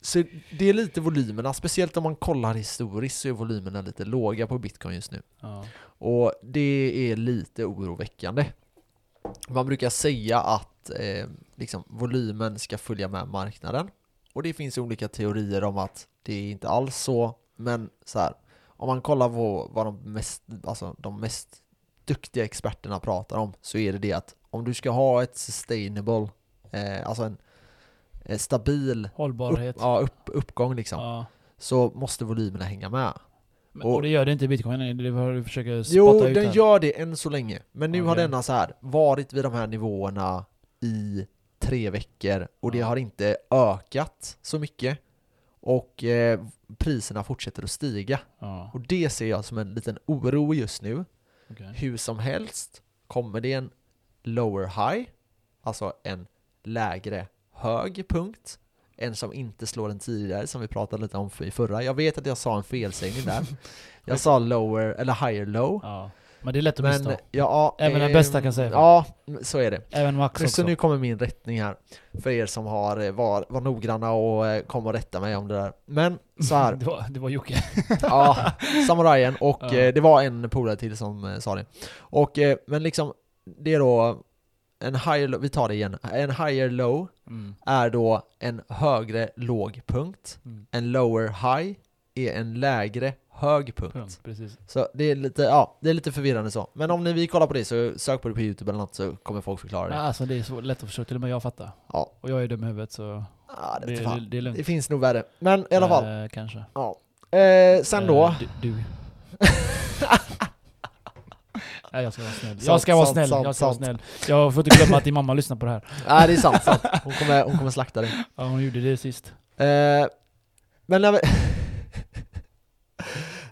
A: så det är lite volymerna, speciellt om man kollar historiskt så är volymerna lite låga på bitcoin just nu.
B: Ja.
A: Och det är lite oroväckande. Man brukar säga att eh, liksom, volymen ska följa med marknaden. Och det finns olika teorier om att det är inte alls så. Men så här, om man kollar på vad de mest, alltså, de mest duktiga experterna pratar om så är det det att om du ska ha ett sustainable, eh, alltså en, en stabil upp,
B: Hållbarhet.
A: ja, upp, uppgång liksom,
B: Ja.
A: så måste volymerna hänga med.
B: Men, och det gör det inte i bitcoin, nej, det har du försöker spotta
A: Jo,
B: ut
A: den
B: här.
A: gör det än så länge. Men nu har
B: Okej.
A: denna så här varit vid de här nivåerna i tre veckor och det
B: Ja.
A: har inte ökat så mycket. Och eh, priserna fortsätter att stiga.
B: Ja,
A: Och det ser jag som en liten oro just nu.
B: okej.
A: Hur som helst kommer det en lower high, alltså en lägre hög punkt. En som inte slår den tidigare som vi pratade lite om i förra. Jag vet att jag sa en felsägning där. Jag sa lower, eller higher low.
B: ja. Men det är lätt att
A: Men, eh,
B: missta.
A: ja, ja,
B: Även den
A: ehm,
B: bästa kan säga fel.
A: Ja, så är det.
B: Även Max
A: Så
B: också.
A: nu kommer min rättning här. För er som har eh, var, var noggranna och eh, kom och rätta mig om det där. Men så här,
B: det, var, det var Jocke.
A: ja, samurajen och
B: Ja.
A: eh, det var en polare till som eh, sa det. Och, eh, men liksom, det är då en higher, lo- vi tar det igen. En higher low
B: Mm.
A: är då en högre låg punkt.
B: Mm.
A: En lower high är en lägre hög punkt.
B: Punkt. Precis.
A: Så det är, lite, ja, det är lite förvirrande så. Men om ni vill kolla på det så sök på det på youtube eller något så kommer folk förklara det.
B: Nej, alltså det är så lätt att förstå, till och med jag fattar.
A: Ja.
B: Och jag är dum i huvudet så
A: Ah, det,
B: det,
A: vet
B: det,
A: fan.
B: det, är lugnt.
A: det finns nog värre. Men i alla fall.
B: Eh, kanske.
A: Ja. Eh, sen då.
B: Eh, du. du. Nej jag ska vara snäll.
A: Sant,
B: Jag ska vara
A: sant,
B: snäll.
A: sant,
B: Jag ska vara
A: sant.
B: snäll. Jag får inte glömma att din mamma lyssnar på det här.
A: Nej det är sant, sant. Hon kommer, hon kommer slakta dig.
B: Ja, hon gjorde det sist.
A: Eh, men när vi,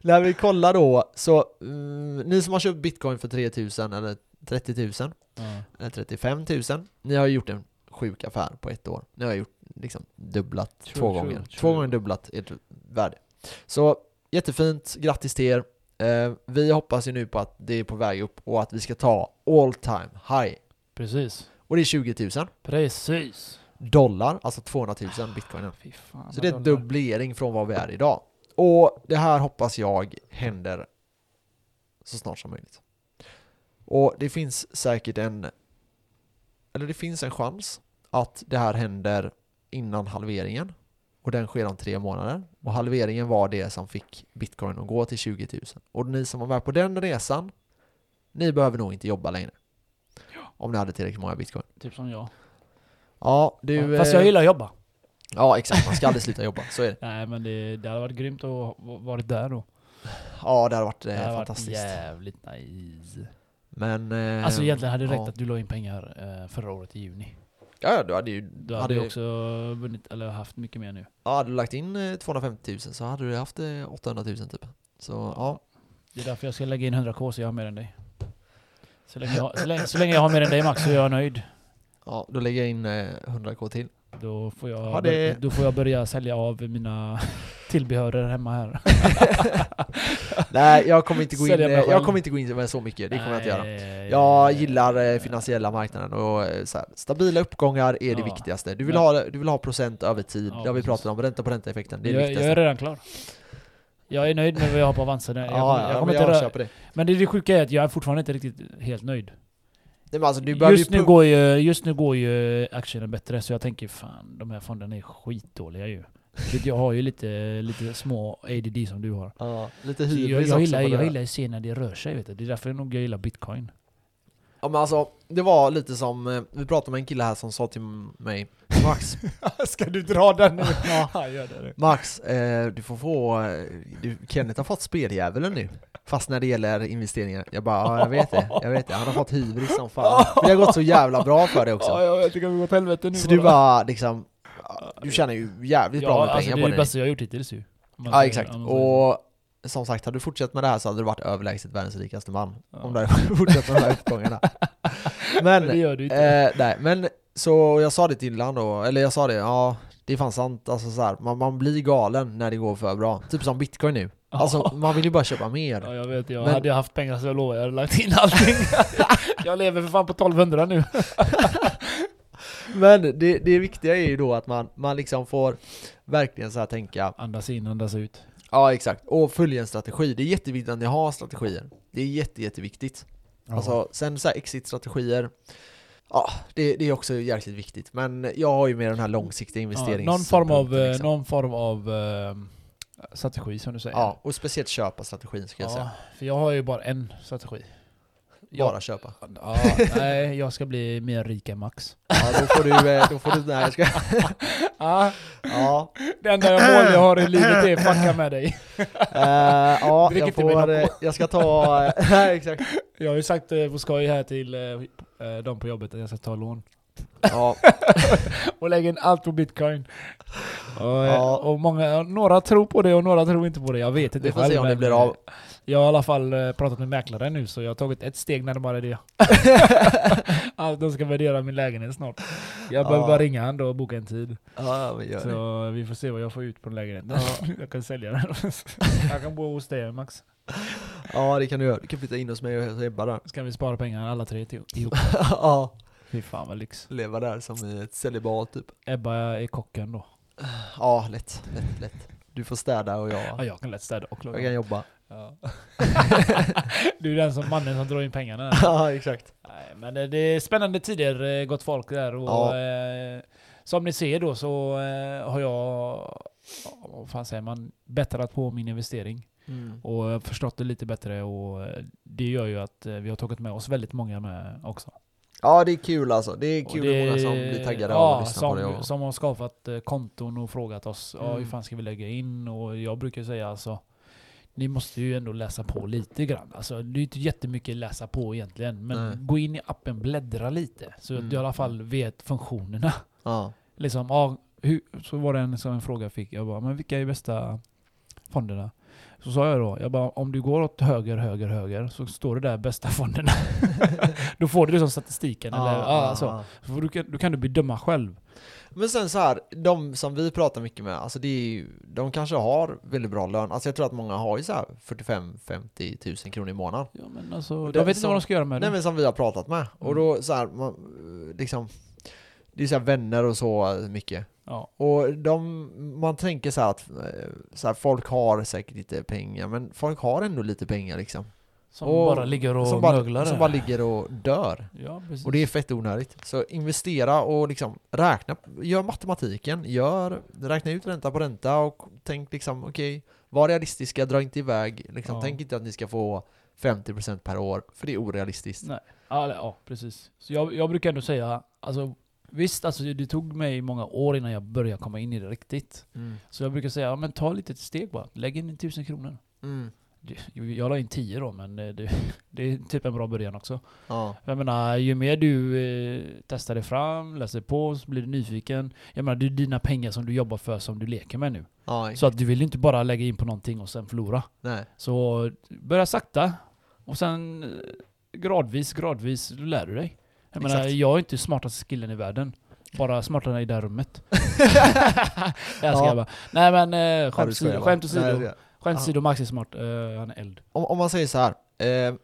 A: när vi kollar då, så mm, ni som har köpt bitcoin för 3000 eller 30 000
B: Ja.
A: eller 35 000, ni har ju gjort en sjuk affär på ett år. Ni har gjort liksom dubblat
B: True,
A: två
B: true,
A: gånger. Två
B: true.
A: gånger dubblat ert värde. Så jättefint, grattis till er. Eh, vi hoppas ju nu på att det är på väg upp och att vi ska ta all time high.
B: Precis.
A: Och det är 20 000
B: Precis.
A: dollar, alltså 200 000 bitcoinen.
B: Fy fan,
A: Så det är
B: vad dollar.
A: dubblering från vad vi är idag. Och det här hoppas jag händer så snart som möjligt. Och det finns säkert en, eller det finns en chans att det här händer innan halveringen. Och den sker om tre månader. Och halveringen var det som fick bitcoin att gå till 20 000. Och ni som var med på den resan, ni behöver nog inte jobba längre. Om ni hade tillräckligt många bitcoin.
B: Typ som jag.
A: Ja, du...
B: Fast jag
A: eh,
B: gillar att jobba.
A: Ja, exakt. Man ska aldrig sluta jobba. Så är det.
B: Nej men det, det hade varit grymt att ha varit där då.
A: Ja, det hade varit eh,
B: det hade
A: fantastiskt.
B: varit jävligt nice.
A: Men... Eh,
B: Alltså egentligen hade det räckt
A: ja.
B: att du la in pengar eh, förra året i juni.
A: Ja, ja, du hade ju...
B: Du
A: Du
B: hade
A: hade
B: ju
A: också...
B: också vunnit, eller haft mycket mer nu.
A: Ja, hade du lagt in eh, 250 000 så hade du haft eh, 800 000 typ. Så ja.
B: Det är därför jag ska lägga in 100k så jag har mer än dig. Så länge jag, så länge, så länge jag har mer än dig Max så är jag nöjd.
A: ja, då lägger jag in eh, 100k till.
B: Då får jag,
A: Ha det.
B: då får jag börja sälja av mina tillbehörer hemma här.
A: Nej, jag kommer inte gå in,
B: Sälja
A: eh,
B: mig själv.
A: jag kommer inte gå in med så mycket, det kommer jag inte göra.
B: Nej.
A: Jag gillar eh, finansiella marknaden och eh, så här, stabila uppgångar är det
B: Ja.
A: viktigaste. Du vill,
B: Men-
A: ha, du vill ha procent över tid, det
B: Ja,
A: har vi
B: precis.
A: pratat om, ränta på ränta-effekten, det är det
B: jag, jag
A: viktigaste.
B: är redan klar. Jag är nöjd med vad jag har på Avanza. Jag,
A: ja,
B: jag,
A: ja,
B: jag
A: men
B: kommer
A: jag
B: inte röra,
A: köper det.
B: men det, det sjuka är att jag är fortfarande inte riktigt helt nöjd.
A: Nej, men alltså, du behöver
B: Just
A: ju
B: nu,
A: pumpa-
B: går ju, just nu går ju aktierna bättre, så jag tänker fan, de här fonderna är skitdåliga ju. Vilket Jag har ju lite, lite små ADD som du har.
A: ja, lite
B: Så
A: hybris
B: Jag,
A: också
B: jag, gillar,
A: på det
B: jag
A: där.
B: gillar att se när det rör sig, vet du. det är därför jag nog jag gillar bitcoin.
A: Ja men alltså, det var lite som, eh, vi pratade med en kille här som sa till mig Max,
B: Ska du dra den nu?
A: Ja.
B: ja, gör det nu.
A: Max, eh, du får få, eh, du, Kenneth har fått speldjävulen nu Fast när det gäller investeringar, jag bara ja jag vet det, jag vet det, han har fått hybris som fan För det har gått så jävla bra för dig också
B: ja, jag tycker vi går åt helvete nu.
A: Så du bara liksom, du tjänar ju jävligt bra med
B: alltså,
A: pengar
B: det
A: på
B: är
A: det
B: det bästa jag har gjort hittills ju. Om
A: Ja
B: man säger-
A: exakt,
B: om man säger så.
A: och som sagt, hade du fortsatt med det här så hade du varit överlägset världens rikaste man
B: Ja.
A: Om du hade fortsatt med de här uppgångarna Men
B: Men det gör du inte.
A: Eh, nej, men så jag sa det till Dylan då, eller jag sa det, ja det är fan sant, alltså så här, man, man blir galen när det går för bra. Typ som bitcoin nu. Alltså man vill ju bara köpa mer.
B: Ja, jag vet, jag
A: Men-
B: hade jag haft pengar så jag lovar, jag hade lagt in allting. jag lever för fan på 1200 nu.
A: Men det, det viktiga är ju då att man, man liksom får verkligen så här tänka,
B: Andas in, andas ut.
A: ja exakt, och följa en strategi. Det är jätteviktigt att ni har strategier. Det är jätte, jätteviktigt. Alltså sen så här exit-strategier, ja det, det är också jäkligt viktigt. Men jag har ju med den här långsiktiga
B: Ja,
A: investerings...
B: någon form av, eh,
A: punkten, liksom.
B: någon form av eh, strategi som du säger.
A: Ja, och speciellt köpa-strategin ska jag
B: Ja,
A: säga.
B: för jag har ju bara en strategi. Jag-
A: Bara köpa.
B: Ja, nej, jag ska bli mer rik än Max.
A: Ja, då får du, eh, då får du, nej jag ska,
B: Ah,
A: ja,
B: det enda mål jag har i livet är fucka med dig.
A: eh, ja
B: Drick
A: jag
B: inte min
A: får, eh, jag ska ta, eh, nej exakt.
B: Jag har ju sagt eh, på skoj här till eh, de på jobbet att jag ska ta lån.
A: Ja,
B: Och lägga in allt på bitcoin. Och, eh,
A: Ja.
B: och många, några tror på det och några tror inte på det. Jag vet inte
A: vi får se om det
B: men,
A: blir av.
B: eh, Jag har i alla fall eh, pratat med mäklaren nu så jag har tagit ett steg närmare det. Allt de ska värdera min lägenhet snart. Jag behöver
A: Ja.
B: bara ringa han då och boka en tid.
A: Ja, vi gör det.
B: Så vi får se vad jag får ut på den lägenheten.
A: Ja.
B: jag kan sälja den. jag kan bo hos dig Max.
A: Ja det kan du göra, du kan flytta in hos mig och jobba där.
B: Så kan vi spara pengar alla tre till- ihop.
A: Ja,
B: Fy fan vad lyx.
A: leva där som i ett celibat typ.
B: Ebba är kocken då.
A: Ja, lätt, lätt, lätt. Du får städa och
B: Ja,
A: jag,
B: jag kan lätt städa och
A: jag kan
B: laga.
A: jobba.
B: Ja. du är den som, mannen som drar in pengarna.
A: Ja, exakt.
B: Nej, men det det är spännande tider eh, gott folk där. Och,
A: Ja.
B: eh, som ni ser då så eh, har jag ja, vad fan säger man, bättrat på min investering
A: Mm.
B: och eh, förstått det lite bättre och eh, det gör ju att eh, vi har tagit med oss väldigt många med också.
A: Ja det är kul alltså, det är
B: Och
A: kul
B: det-
A: hur många som blir taggade av
B: ja,
A: att lyssna
B: som,
A: på det. Och,
B: som har skapat eh, konton och frågat oss ja, hur
A: Mm.
B: fan ska vi lägga in? Och jag brukar ju säga alltså ni måste ju ändå läsa på lite grann. Alltså, det är ju inte jättemycket att läsa på egentligen. Men
A: Nej.
B: gå in i appen, bläddra lite. Så att
A: Mm.
B: du i alla fall vet funktionerna.
A: ja.
B: Liksom, ja, hur, så var det en, så en fråga jag fick. Jag bara, men vilka är bästa fonderna? Så sa jag då, jag bara, om du går åt höger, höger, höger så står det där bästa fonderna. då får du liksom statistiken. eller, ja, så. För du kan, då kan du bedöma själv.
A: Men sen så här, de som vi pratar mycket med, alltså det är ju, de kanske har väldigt bra lön. Alltså jag tror att många har ju så här 45-50 tusen kronor i månaden.
B: Ja, men alltså,
A: Det
B: jag
A: är
B: vet inte
A: som-
B: vad de ska göra med
A: Nej
B: det. Mm.
A: men som vi har pratat med. Och då så här, man, eh, liksom, det är så här vänner och så eh, mycket.
B: Ja.
A: Och de, man tänker så här att eh, så här, folk har säkert lite pengar, men folk har ändå lite pengar liksom.
B: Som
A: Och-
B: bara ligger och
A: som, bara,
B: möglar.
A: som bara ligger och dör.
B: ja, precis.
A: Och det är fett onödigt. Så investera och liksom räkna, gör matematiken, gör, räkna ut ränta på ränta och tänk liksom okej, var realistiska, dra inte iväg, liksom,
B: Ja. tänk
A: tänk inte att ni ska få 50% per år, för det är orealistiskt.
B: Nej. ja, eller, ja, precis. Så jag, jag brukar ändå säga, alltså, visst alltså, det tog mig många år innan jag började komma in i det riktigt.
A: Mm.
B: Så jag brukar säga, ja, men ta lite steg bara. Lägg in 1000 kronor. Det- Jag la in 10 då, men det, det, det är typ en bra början också.
A: Ja.
B: Jag menar, ju mer du eh, testar dig fram, läser på, så blir du nyfiken. Jag menar, det är dina pengar som du jobbar för, som du leker med nu.
A: Ja,
B: Så att du vill ju inte bara lägga in på någonting och sen förlora.
A: nej.
B: Så börja sakta. Och sen eh, gradvis, gradvis då lär du dig. Jag menar,
A: Exakt.
B: jag är inte smartaste killen i världen. Bara smartare i det här rummet. det här ska
A: Ja.
B: jag bara. Nej men eh,
A: Ja, du
B: skämt
A: skojar
B: åsido,
A: bara.
B: skämt
A: Nej,
B: åsido.
A: det-
B: Skämt
A: Ja.
B: åsido, Max är smart. Eh, han är eld.
A: om, om man säger så här, eh,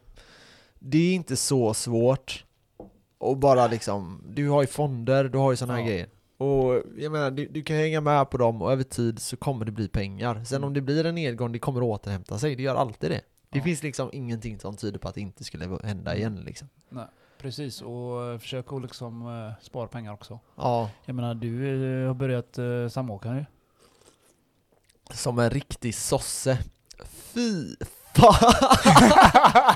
A: det är inte så svårt och bara liksom, du har ju fonder, du har ju sådana
B: Ja.
A: här grejer. Och jag menar, du, du kan hänga med på dem och över tid så kommer det bli pengar. Sen
B: Mm.
A: om det blir en nedgång, det kommer återhämta sig. Det gör alltid det. Det
B: Ja. Mm.
A: finns liksom ingenting som tyder på att det inte skulle hända igen liksom.
B: Precis, och eh, försök att liksom eh, spara pengar också.
A: Ja,
B: Jag menar, du eh, har börjat eh, samåka nu.
A: som en riktig sosse. Fy fan!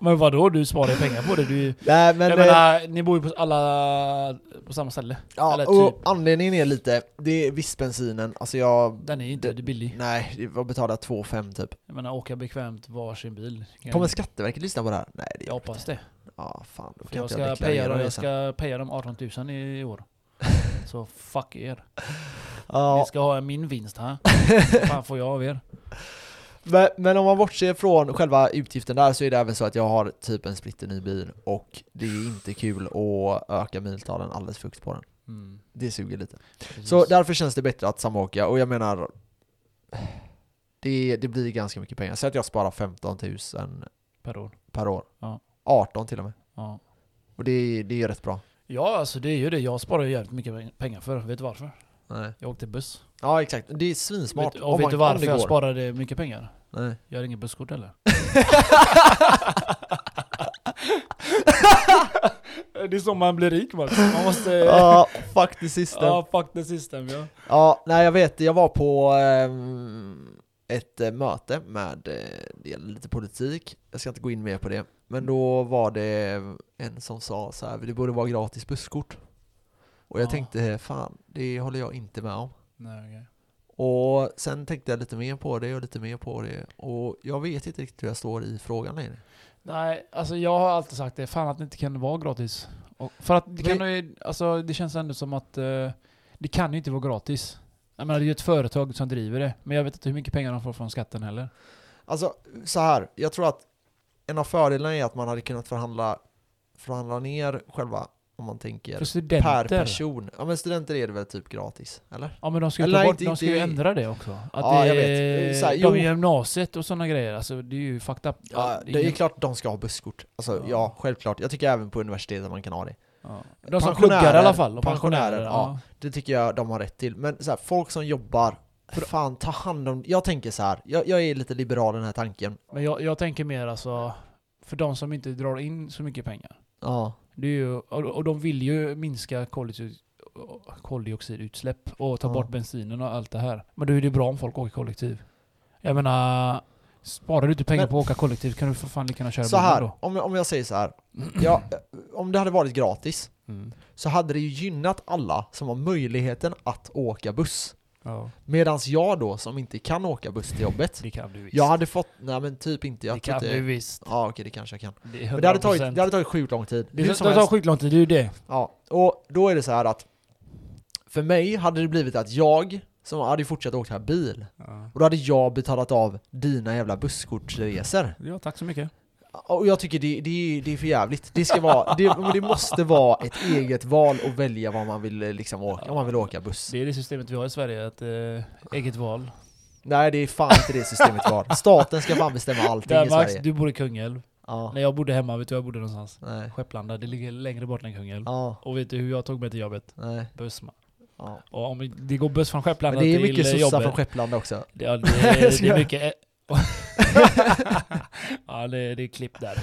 B: Men vadå, du sparar ju pengar på det. Du,
A: Nej men,
B: jag
A: eh,
B: menar, ni bor ju på alla på samma ställe.
A: ja,
B: eller
A: och
B: typ.
A: anledningen är lite, det är vispbensinen, alltså jag,
B: Den är ju inte
A: Det-
B: billig.
A: nej, jag betalade 2,5 typ.
B: Jag menar, åka bekvämt varsin bil. Kan-
A: Kommer Skatteverket lyssna på det här? Nej, det
B: jag
A: gör
B: hoppas det.
A: Ja, fan. Då
B: För
A: kan
B: jag,
A: inte jag,
B: ska
A: deklarera
B: paya, dem-
A: det
B: jag
A: sen.
B: ska paya dem 18 000 i i år. Så fuck er. Ni
A: Ja,
B: ska ha min vinst här. Vad fan får jag av er?
A: men, men om man bortser från själva utgiften där så är det även så att jag har typ en splitterny bil och det är inte kul att öka miltalen alldeles fukt på den.
B: Mm,
A: Det suger lite.
B: precis.
A: Så därför känns det bättre att samåka och jag menar det, det blir ganska mycket pengar. Säg att jag sparar 15 000
B: per år.
A: per år.
B: Ja.
A: 18 till och med.
B: Ja.
A: Och det, det är ju rätt bra.
B: ja, alltså det är ju det. Jag sparar ju jävligt mycket pengar för. Vet du varför?
A: Nej.
B: Jag åkte buss.
A: Ja exakt, det är svinsmart.
B: Vet,
A: om
B: och vet
A: man-
B: du
A: om
B: varför
A: det
B: jag
A: går.
B: sparade mycket pengar?
A: Nej.
B: Jag har inget busskort heller. det är så man blir rik Max. Man måste...
A: Ja, fuck the system.
B: Ja, fuck the system ja.
A: Ja, nej jag vet, jag var på ehm, ett eh, möte med, eh, det gäller lite politik, jag ska inte gå in mer på det, men då var det en som sa så här, det borde vara gratis busskort. Och jag
B: Ja.
A: tänkte, fan, det håller jag inte med om.
B: Nej, okej.
A: Och sen tänkte jag lite mer på det och lite mer på det och jag vet inte riktigt hur jag står i frågan längre.
B: Nej, alltså jag har alltid sagt det. Fan att det inte kan vara gratis. Och för att det kan ju, alltså det känns ändå som att eh, det kan ju inte vara gratis. Jag menar det är ju ett företag som driver det. Men jag vet inte hur mycket pengar de får från skatten heller.
A: Alltså så här, jag tror att en av fördelarna är att man hade kunnat förhandla, förhandla ner själva, om man tänker
B: För studenter.
A: Per person. Ja men studenter är det väl typ gratis? Eller?
B: Ja men de ska, ju
A: Eller
B: ta
A: nej,
B: bort,
A: inte-
B: de ska ju
A: inte-
B: ändra det också. Att
A: Ja,
B: det
A: jag
B: är,
A: vet. Så här,
B: de
A: jo.
B: i gymnasiet och sådana grejer, alltså det är ju fucked up.
A: Ja,
B: det är
A: det är ju
B: ingen-
A: klart de ska ha busskort. Alltså
B: Ja.
A: ja. självklart. Jag tycker även på universitetet man kan ha det.
B: ja. De som
A: pensionärer-
B: pluggar i alla fall. och
A: pensionärer, ja. Det tycker jag de har rätt till. Men så här, folk som jobbar, för fan ta hand om... Jag tänker så här. Jag, jag är lite liberal i den här tanken.
B: Men jag, jag tänker mer alltså, för de som inte drar in så mycket pengar.
A: Ja.
B: Det är ju, och, och de vill ju minska koldioxid, koldioxidutsläpp och ta
A: Ja.
B: bort bensinen och allt det här. Men då är det bra om folk åker kollektiv. Jag menar, sparar du inte pengar
A: Men-
B: på att åka kollektivt kan du för fan lika gärna köra
A: Så
B: bilen
A: här,
B: då.
A: om, jag- om jag säger så här. Ja, eh, om det hade varit gratis
B: Mm.
A: så hade det ju gynnat alla som har möjligheten att åka buss.
B: Ja,
A: Medan jag då, som inte kan åka buss till jobbet,
B: det kan du visst.
A: jag hade fått, nej men typ inte,
B: det
A: jag
B: kan
A: tror
B: du
A: inte,
B: visst.
A: ja okej det kanske jag kan.
B: Det,
A: Men det hade tagit, det hade tagit sjukt lång tid. Hur
B: det,
A: som
B: det tar
A: helst.
B: sjukt lång tid, det är ju det.
A: Ja, och då är det så här att för mig hade det blivit att jag som hade fortsatt åka här bil och då hade jag betalat av dina jävla busskortsresor.
B: Ja, tack så mycket.
A: Och jag tycker det, det, det är för jävligt. Det, ska vara, det, men det måste vara ett eget val att välja vad man vill eh, liksom åka, om man vill åka buss.
B: Det är det systemet vi har i Sverige, att eh, eget val.
A: Nej det är fan inte det systemet var. Staten ska fan bestämma allting i
B: Där Max,
A: Sverige.
B: du bor i Kungälv.
A: Ja,
B: När jag bodde hemma, vet du var jag bodde någonstans?
A: nej,
B: Skepplanda, det ligger längre bort än Kungälv.
A: ja,
B: Och vet du hur jag tog mig till jobbet?
A: nej,
B: Buss man.
A: ja.
B: Och om det går buss från
A: Men
B: Skepplanda
A: det är
B: till
A: mycket
B: eh,
A: sossar
B: jobbet.
A: från Skepplanda också.
B: det, ja, det, är- det
A: Ska jag-
B: är mycket... ja, det, det är klipp där.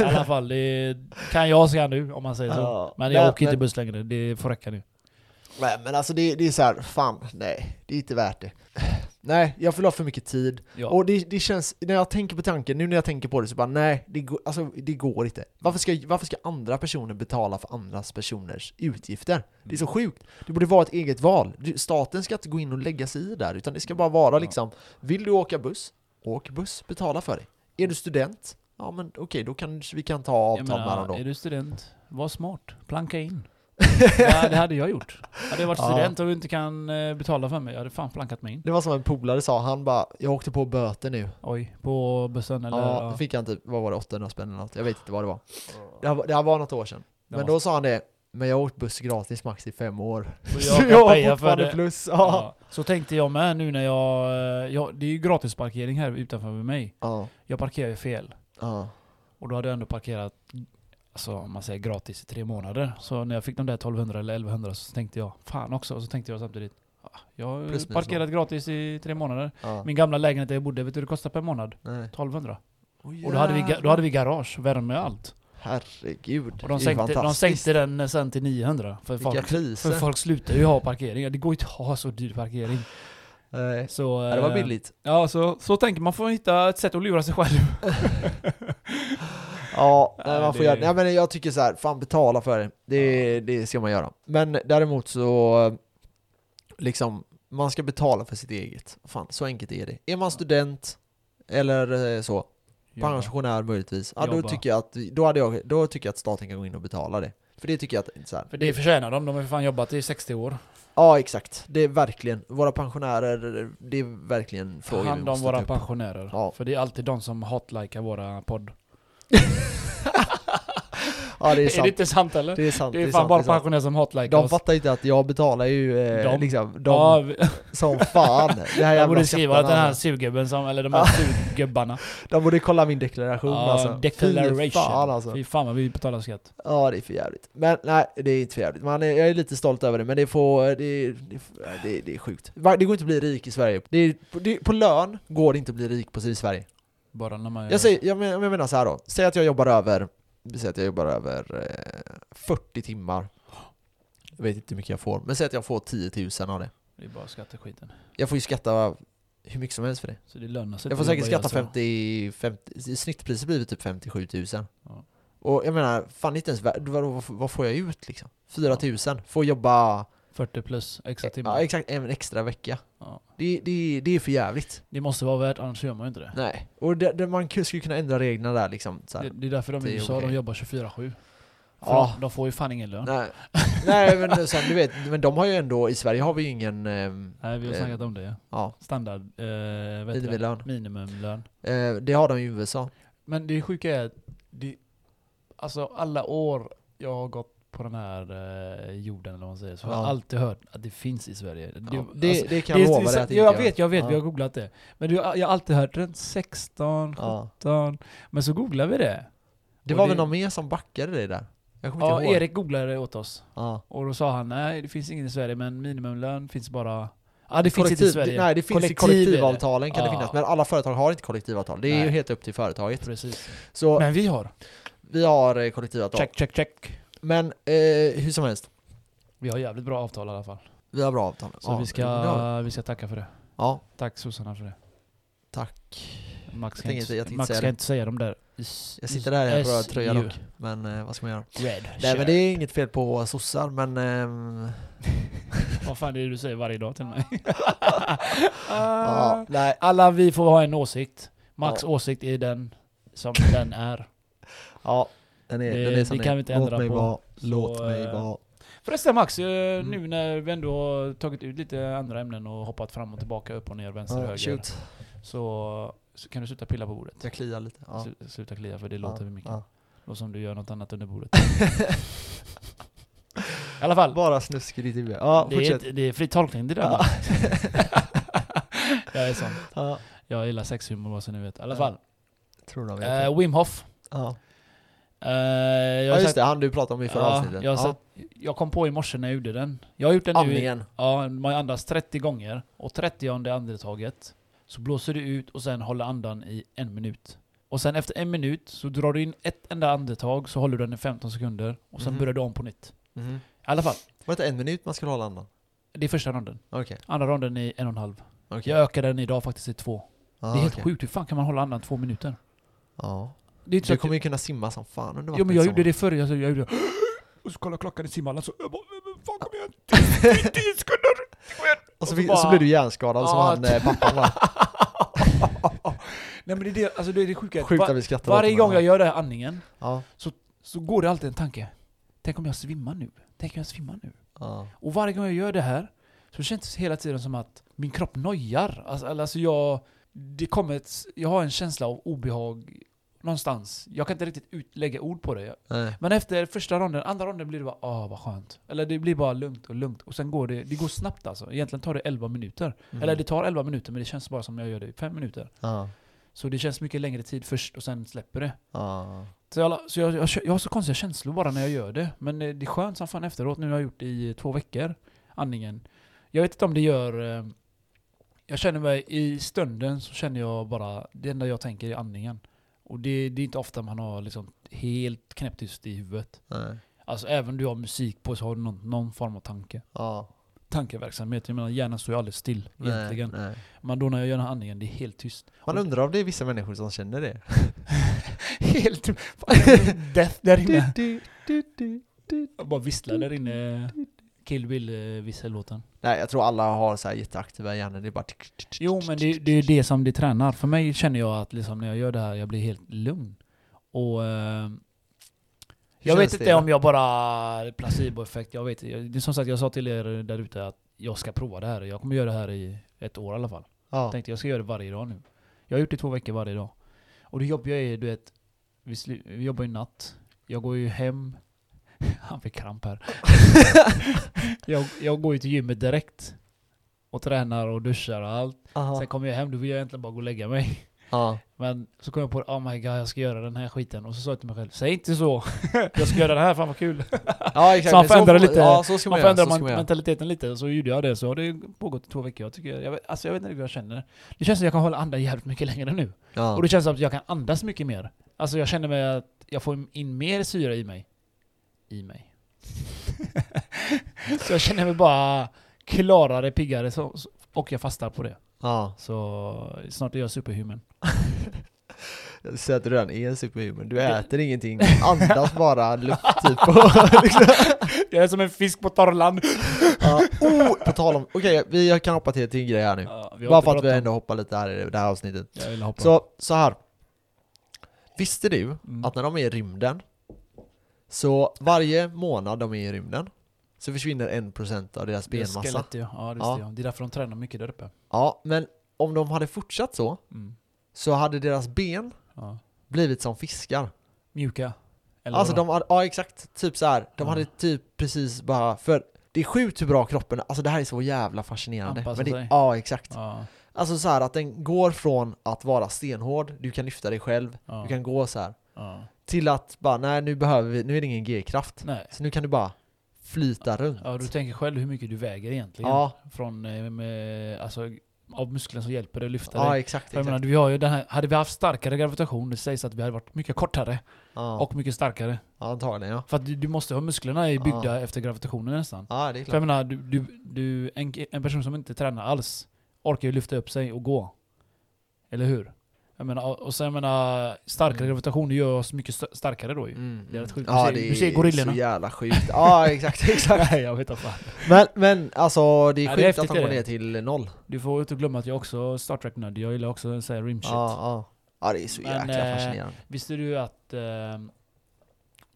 B: I alla fall, det kan jag säga nu om man säger så.
A: Ja.
B: Men jag
A: Nej,
B: åker inte
A: men-
B: buss längre, det får räcka nu.
A: Nej men alltså det, det är så här, fan nej, det är inte värt det. Nej, jag förlorar för mycket tid.
B: Ja.
A: Och det, det känns, när jag tänker på tanken, nu när jag tänker på det så bara nej, det, går- alltså, det går inte. Varför ska, varför ska andra personer betala för andras personers utgifter? Det är så sjukt. Det borde vara ett eget val. Du, staten ska inte gå in och lägga sig i där, utan det ska bara vara liksom, vill du åka buss? Åk buss, betala för det. Är du student? Ja men okej, då kanske vi kan ta
B: Jag
A: avtal med
B: menar,
A: varandra
B: är
A: då.
B: du student, var smart. Planka in. ja, det hade jag gjort. Hade jag varit
A: Ja.
B: student och inte kan eh, betala för mig, jag hade fan plankat mig in.
A: Det var som en polare sa, han bara, jag åkte på böter nu.
B: Oj, på bussen eller?
A: ja, då fick han typ, vad var det, 800 spänn eller något? Jag vet inte vad det var. Det här, var- det här var något år sedan.
B: Det
A: Men
B: måste-
A: då sa han det, men jag har åkt buss gratis max i fem år.
B: Så jag
A: Så
B: kan
A: jag har
B: peja för
A: fortfarande
B: det.
A: plus. Ja.
B: Ja. Så tänkte jag med nu när jag, eh, jag... Det är ju gratisparkering här utanför mig.
A: Ja.
B: Jag parkerar ju fel.
A: Ja.
B: Och då hade jag ändå parkerat, alltså om man säger gratis i tre månader. Så när jag fick de där 1200 eller 1100 så tänkte jag, fan också. Och så tänkte jag samtidigt, ah, jag har
A: Plus
B: ju
A: minus
B: parkerat gratis i tre månader.
A: ja.
B: Min gamla lägenhet där jag bodde, vet du hur det kostar per månad?
A: Nej.
B: 1200. Och då hade vi, ga- då hade vi garage, värme och allt.
A: Herregud.
B: Och de
A: det är ju
B: sänkte, de
A: fantastiskt.
B: sänkte den eh, sen till 900. För
A: Vilka
B: folk, för
A: priser.
B: folk slutar ju ha parkeringar. Det går ju inte att ha så dyr parkering.
A: Nej.
B: Så,
A: Ja, det var
B: eh,
A: billigt.
B: Ja, så, så tänker man får hitta ett sätt att lura sig själv.
A: Ja, nej,
B: nej,
A: man får
B: det-
A: göra Nej, men jag tycker så här, fan betala för det. Det, det ska man göra. Men däremot så, eh, liksom, man ska betala för sitt eget. Fan, så enkelt är det. Är man student, eller eh, så, pensionär möjligtvis, ja, då,
B: Jobba.
A: tycker jag att, då, hade jag, då tycker jag att staten kan gå in och betala det. För det tycker jag att, så här,
B: För det förtjänar de, de har ju fan jobbat i 60 år.
A: ja exakt, det är verkligen, våra pensionärer, det är verkligen frågor vi
B: Hand om
A: måste
B: våra
A: ta upp.
B: pensionärer.
A: Ja.
B: För det är alltid de som hotlikar våra podd.
A: Ja det är
B: det
A: sant,
B: inte sant eller? Det
A: det är sant,
B: är,
A: det är
B: fan
A: sant.
B: bara
A: det är sant.
B: pensionärer som hotlikar
A: De
B: oss.
A: fattar inte att jag betalar ju eh,
B: De-
A: liksom, de
B: Ja, vi-
A: som fan. Det här
B: jag
A: jävla
B: borde skriva att den här
A: skattarna.
B: surgubben som, eller de här surgubbarna.
A: De borde kolla min deklaration alltså. Fy
B: declaration.
A: fan alltså.
B: Fy fan vad vi betalar skatt.
A: Ja det är för jävligt. Men nej, det är inte för jävligt. Man är, jag är lite stolt över det, men det får... Det, det, det, det är sjukt. Va- Det går inte att bli rik i Sverige. Det är, på- det, på lön går det inte att bli rik precis i Sverige.
B: Bara när man gör-
A: Jag, säger, jag, men, jag menar så här då, säg att jag jobbar över, vi säger att jag jobbar över eh, 40 timmar. Jag vet inte hur mycket jag får, men säg att jag får 10 000 av det.
B: Det är bara skatteskiten.
A: Jag får ju skatta hur mycket som helst för det.
B: Så det lönar sig
A: Jag
B: inte
A: får
B: att
A: säkert
B: jobba ihjäl
A: skatta 50,
B: sig.
A: 50 snittpriset blir väl typ 57 000.
B: Ja.
A: Och jag menar, fan inte ens värd, vad, vad, vad får jag ut liksom? 4 000, får jobba
B: 40 plus extra timmar.
A: ja, exakt en extra vecka.
B: Ja.
A: Det, det, det är för jävligt.
B: Det måste vara värt, annars gör man ju inte det.
A: Nej. Och det, det, man skulle kunna ändra reglerna där liksom. Så här.
B: Det, det är därför de
A: Det
B: i
A: är
B: USA, de
A: okej.
B: jobbar 24-7. För
A: Ja.
B: de, de får ju fan ingen lön. Nej,
A: Nej. Nej men sen du vet, men de har ju ändå, i Sverige har vi ju ingen, ehm,
B: vi har
A: Eh,
B: snackat om det. ja.
A: ja,
B: Standard, eh, vet du det?
A: minimilön.
B: minimumlön.
A: Eh, det har de i USA.
B: Men det sjuka är, att det, alltså alla år jag har gått på den här eh, jorden eller vad man säger, så har jag
A: Ja.
B: alltid hört att det finns i Sverige.
A: Ja,
B: Det,
A: det,
B: alltså,
A: det kan jag
B: det är-
A: lova dig att det
B: jag,
A: inte
B: vet, jag vet,
A: Ja.
B: vi har googlat det. Men du, jag har alltid hört runt 16,
A: Ja.
B: 17, men så googlar vi det.
A: Det
B: Och
A: var
B: det-
A: väl någon mer som backade dig där? Jag kommer
B: Ja,
A: inte ihåg.
B: Erik googlade det åt oss.
A: Ja.
B: Och då sa han nej, det finns ingen i Sverige, men minimumlön finns bara... Ja, det finns inte i Sverige.
A: Nej, det finns
B: Kollektiv
A: i kollektivavtalen kan det
B: Ja.
A: finnas, men alla företag har inte kollektivavtal. Det är
B: Nej.
A: ju helt upp till företaget.
B: Precis.
A: Så
B: Men vi har.
A: vi har eh, kollektivavtal.
B: Check, check, check.
A: Men eh, hur som helst.
B: Vi har jävligt bra avtal i alla fall.
A: Vi har bra avtal.
B: Så
A: Ja,
B: vi,
A: det har vi.
B: ska, vi ska tacka för det.
A: Ja,
B: Tack sossarna för det.
A: tack.
B: Max ska,
A: tänker
B: inte,
A: inte- jag tänkte
B: Max
A: säga
B: ska
A: det.
B: inte säga de där. S-
A: Jag sitter där i en
B: S-
A: röd tröja
B: U.
A: dock. Men eh, vad ska man göra?
B: Red.
A: Nej men
B: shirt.
A: det är inget fel på sossar men... ehm,
B: Vad fan är det du säger varje dag till mig?
A: ja, nej.
B: Alla vi får ha en åsikt. Max
A: Ja.
B: åsikt är den som den är.
A: Ja, den är,
B: Det-
A: den är som den
B: det
A: är.
B: kan vi inte ändra
A: Låt mig
B: på.
A: vara.
B: Så,
A: Låt mig
B: eh,
A: vara.
B: Förresten Max, eh,
A: Mm.
B: nu när vi ändå har tagit ut lite andra ämnen och hoppat fram och tillbaka, upp och ner, vänster,
A: Ja,
B: höger.
A: shoot.
B: Så, så kan du sluta pilla på bordet.
A: Jag kliar lite. Ja.
B: Slu- Sluta klia för det låter för mycket.
A: ja.
B: Låter som du gör något annat under bordet. I alla fall.
A: Bara snuskigt i huvudet. Ja,
B: det, är,
A: fortsätt.
B: ett- det är fri tolkning det där.
A: Ja.
B: va? jag är sån.
A: Ja,
B: Jag gillar sexhumor vad så ni vet. I alla
A: Ja,
B: fall.
A: tror de vet. det.
B: Eh, Wim Hof.
A: ja.
B: Eh, jag har
A: ja, just
B: sagt-
A: det. Han du pratade om i förra
B: ja,
A: avsnittet.
B: Jag, har
A: Ja.
B: sagt- jag kom på i morse när jag gjorde den. Jag har gjort den nu i
A: Andningen.
B: Ja, man andas 30 gånger och 30 andetaget så blåser du ut och sen håller andan i en minut. Och sen efter en minut så drar du in ett enda andetag så håller du den i 15 sekunder och sen
A: Mhm.
B: börjar du om på nytt.
A: Mhm.
B: I alla fall,
A: Var det inte en minut man skulle hålla andan?
B: det är första ronden.
A: Okej.
B: Andra ronden är en och en halv.
A: okej.
B: Jag ökar den idag faktiskt till två.
A: Ja,
B: det är helt
A: okej.
B: sjukt, hur fan kan man hålla andan två minuter?
A: Ja.
B: Det är inte så
A: Du
B: att-
A: kommer ju kunna simma som fan under
B: Jo men jag
A: som-
B: gjorde det förr, alltså, jag, jag gjorde Och så kollade jag klockan i simhallen så jag bara, "Men fan kom igen, tio- tio sekunder! kom igen."
A: Och så,
B: Och så
A: fick,
B: bara-
A: så blev du hjärnskadad som
B: Ja,
A: han eh, pappan var.
B: Nej men det är det, alltså det är det sjuka.
A: Sjukt
B: Va-
A: att vi skrattade åt
B: varje
A: det,
B: gång jag
A: men
B: gör den här andningen
A: ja.
B: så går det alltid en tanke. Tänk om jag svimmar nu? Tänk om jag svimmar nu?
A: Ja.
B: Och varje gång jag gör det här så känns det hela tiden som att min kropp nojar. Alltså, eller alltså jag, det kommer ett, jag har en känsla av obehag någonstans. Jag kan inte riktigt ut, lägga ord på det. Jag-
A: Nej.
B: Men efter första ronden, andra ronden blir det bara ah vad skönt. Eller det blir bara lugnt och lugnt. Och sen går det, det går snabbt alltså. Egentligen tar det 11 minuter.
A: Mhm.
B: Eller det tar 11 minuter men det känns bara som jag gör det i 5 minuter.
A: Ja.
B: Så det känns mycket längre tid först och sen släpper det.
A: Ja.
B: Så, jag, så jag, jag, jag har så konstiga känslor bara när jag gör det. Men eh, det är skönt som fan efteråt nu när jag har gjort det i två veckor. Andningen. Jag vet inte om det gör... eh, Jag känner mig i stunden så känner jag bara... Det enda jag tänker är andningen. Och det, det är inte ofta man har liksom helt knäpptyst i huvudet.
A: Nej.
B: Alltså även du har musik på så har du någon, någon form av tanke.
A: Ja.
B: Tankeverksamhet. Jag menar hjärnan står ju aldrig still
A: Nej.
B: egentligen.
A: Nej.
B: Men då när jag gör den här andningen, det är helt tyst.
A: Man undrar om det är vissa människor som känner det.
B: Helt... Death där
A: Du, du, du, du.
B: Jag bara visslar där inne. Kill eh, Bill-vissellåten.
A: Nej, jag tror alla har så här jätteaktiva hjärnor. Det är bara... tick, tick, tick,
B: Jo men det, det är ju det som det tränar. För mig känner jag att liksom när jag gör det här, jag blir helt lugn. Och... eh,
A: Hur känns
B: jag vet
A: det
B: inte
A: då?
B: om jag bara... Placeboeffekt, jag vet jag- Det är som sagt, jag sa till er där ute att jag ska prova det här. Jag kommer göra det här i ett år i alla fall.
A: Ja.
B: Jag tänkte jag ska göra det varje dag nu. Jag har gjort det två veckor varje dag. Och det jobbiga är du vet, vi, slu- vi jobbar ju natt. Jag går ju hem. Han fick kramp här. jag, jag går ju till gymmet direkt. Och tränar och duschar och allt.
A: Aha.
B: Sen kommer jag hem, då vill jag egentligen bara gå och lägga mig.
A: Ja.
B: Men så kom jag på oh my god, jag ska göra den här skiten. Och så sa jag till mig själv, säg inte så! jag ska göra den här, fan vad kul!
A: ja, exakt.
B: Så man
A: Men
B: får ändra
A: får-
B: lite-
A: Ja, så ska man,
B: Man får
A: göra.
B: ändra
A: Så ska man
B: man
A: göra.
B: mentaliteten lite, så gjorde jag det. Så har det pågått i två veckor. Jag, tycker, jag, vet, alltså jag vet inte hur jag känner. Det känns som jag kan hålla andan jävligt mycket längre nu.
A: Ja.
B: Och det känns som att jag kan andas mycket mer. Alltså jag känner mig att jag får in mer syre i mig. I mig. så jag känner mig bara klarare, piggare så, så- och jag fastar på det.
A: Ja.
B: Så snart är jag superhuman.
A: Jag säger att du redan är en superhuman. Du
B: Det-
A: äter ingenting, andas bara luft typ. och liksom.
B: Jag är som en fisk på torrland.
A: ja. oh, på tal om... Okej, vi jag kan hoppa till, till en grej här nu.
B: Ja, vi har
A: Bara
B: inte
A: för att vi
B: bråttom.
A: ändå hoppar lite här i det här avsnittet.
B: Jag vill hoppa.
A: Så, så här. Visste du
B: Mm.
A: att när de är i rymden, så varje månad de är i rymden, så försvinner 1% av deras
B: Det är
A: benmassa.
B: skelett ju. Ja, det
A: Ja.
B: visste jag. Det är därför de tränar mycket där uppe.
A: Ja, men om de hade fortsatt så,
B: Mm.
A: så hade deras ben
B: Ja.
A: blivit som fiskar.
B: Mjuka. Eller
A: alltså
B: vadå? Mm.
A: de hade, ja exakt, typ så här. de
B: Ja.
A: hade typ precis bara, för det är sjukt hur bra kroppen, alltså det här är så jävla fascinerande.
B: Anpassa
A: det,
B: sig.
A: Ja, exakt.
B: Ja,
A: Alltså så här att den går från att vara stenhård, du kan lyfta dig själv,
B: ja,
A: du kan gå så här
B: ja.
A: till att bara, nej nu behöver vi, nu är det ingen g-kraft.
B: Nej.
A: Så nu kan du bara flyta runt.
B: Ja, du tänker själv hur mycket du väger egentligen.
A: Ja.
B: Från eh, med, alltså, av musklerna som hjälper dig att lyfta
A: Ja,
B: dig.
A: exakt.
B: För jag menar,
A: exakt.
B: vi har ju den här, hade vi haft starkare gravitation, det sägs att vi hade varit mycket kortare
A: Ja,
B: och mycket starkare.
A: ja, antagligen ja.
B: För att du, du måste ha musklerna är byggda efter gravitationen nästan.
A: Ja, det är
B: För jag
A: klart.
B: menar, du, du, du, en, en person som inte tränar alls orkar ju lyfta upp sig och gå. Eller hur? Jag menar, och- och sen jag menar, starkare
A: Mm.
B: gravitation gör oss mycket st- starkare då ju.
A: Mm.
B: Det är rätt sjukt. Du
A: Ja,
B: ser-
A: det
B: du ser
A: är
B: gorillorna.
A: så jävla sjukt. Ja, exakt, exakt.
B: Nej, jag vet inte. fan.
A: Men, men alltså det är
B: Ja,
A: sjukt
B: det är
A: att
B: häftigt,
A: de går
B: det.
A: ner till noll.
B: Du får inte glömma att jag också är Star Trek-nörd. Jag gillar också att säga rimshit.
A: Ja, ja. ja, det är så
B: Men,
A: jäkla
B: eh,
A: fascinerande.
B: Visste du att eh,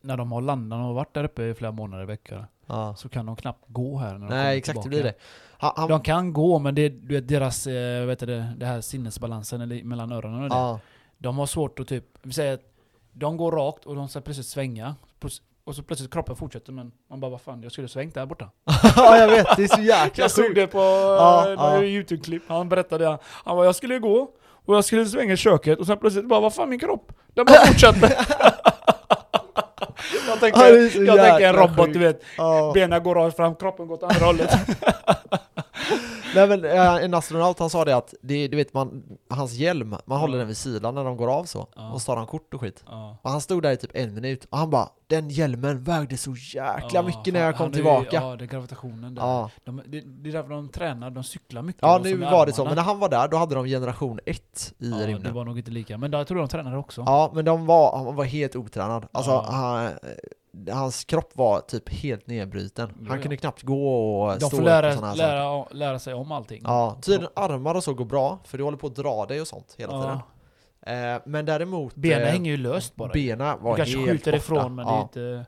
B: när de har landat, de har varit där uppe i flera månader i veckan,
A: Ja.
B: så kan de knappt gå här när de kommer
A: Nej, exakt det
B: tillbaka.
A: blir det. Han, han,
B: De kan gå, men det, du vet, deras, eh, vet du, det, det här sinnesbalansen eller, mellan öronen och det.
A: ja,
B: De har svårt att typ, vi säger att de går rakt och de ska plötsligt svänga. Plus- Och så plötsligt kroppen fortsätter men man bara vad fan, jag skulle ha svängt där borta.
A: ja, jag vet. Det är så jäkla
B: Jag såg
A: sjukt.
B: det på
A: Ja,
B: eh,
A: ja.
B: några youtube-klipp, han berättade det. Han bara jag skulle gå och jag skulle svänga i köket och sen plötsligt bara vad fan min kropp? Den bara fortsätter. jag tänker,
A: Ja, det är så
B: jag tänker en
A: jäkla
B: robot
A: sjukt.
B: du vet.
A: Ja.
B: Benen går rakt fram, kroppen går åt andra hållet.
A: Nej, men, eh, en astronaut han sa det att, det, du vet man, hans hjälm, man håller den vid sidan när de går av så.
B: Ja.
A: Och så tar han kort och skit.
B: ja.
A: Och han stod där i typ en minut och han bara Den hjälmen vägde så jäkla
B: Ja,
A: mycket när
B: han-
A: jag kom
B: han är ju-
A: tillbaka. Ja,
B: Ja, det är gravitationen där.
A: ja.
B: De, det, det är därför de tränar, de cyklar mycket. och
A: nu
B: som i
A: var det så.
B: armarna.
A: Men när han var där då hade de generation 1 i
B: ja,
A: rymden.
B: det var nog inte lika. Men jag tror de tränade också.
A: Ja, men de var, han var helt otränad. Alltså,
B: Ja.
A: han, eh, hans kropp var typ helt nedbruten.
B: Jo,
A: han
B: ja.
A: kunde knappt gå och
B: de
A: stå
B: får
A: upp och såna
B: lära,
A: här saker.
B: lära, lära sig om allting.
A: Ja, tydligen armar och så går bra, för du håller på att dra dig och sånt hela
B: Ja.
A: tiden. Eh, men däremot...
B: Benen
A: eh,
B: hänger ju löst bara.
A: Bena
B: du
A: var
B: kanske
A: helt
B: skjuter
A: borta.
B: ifrån men det är
A: ja.
B: inte...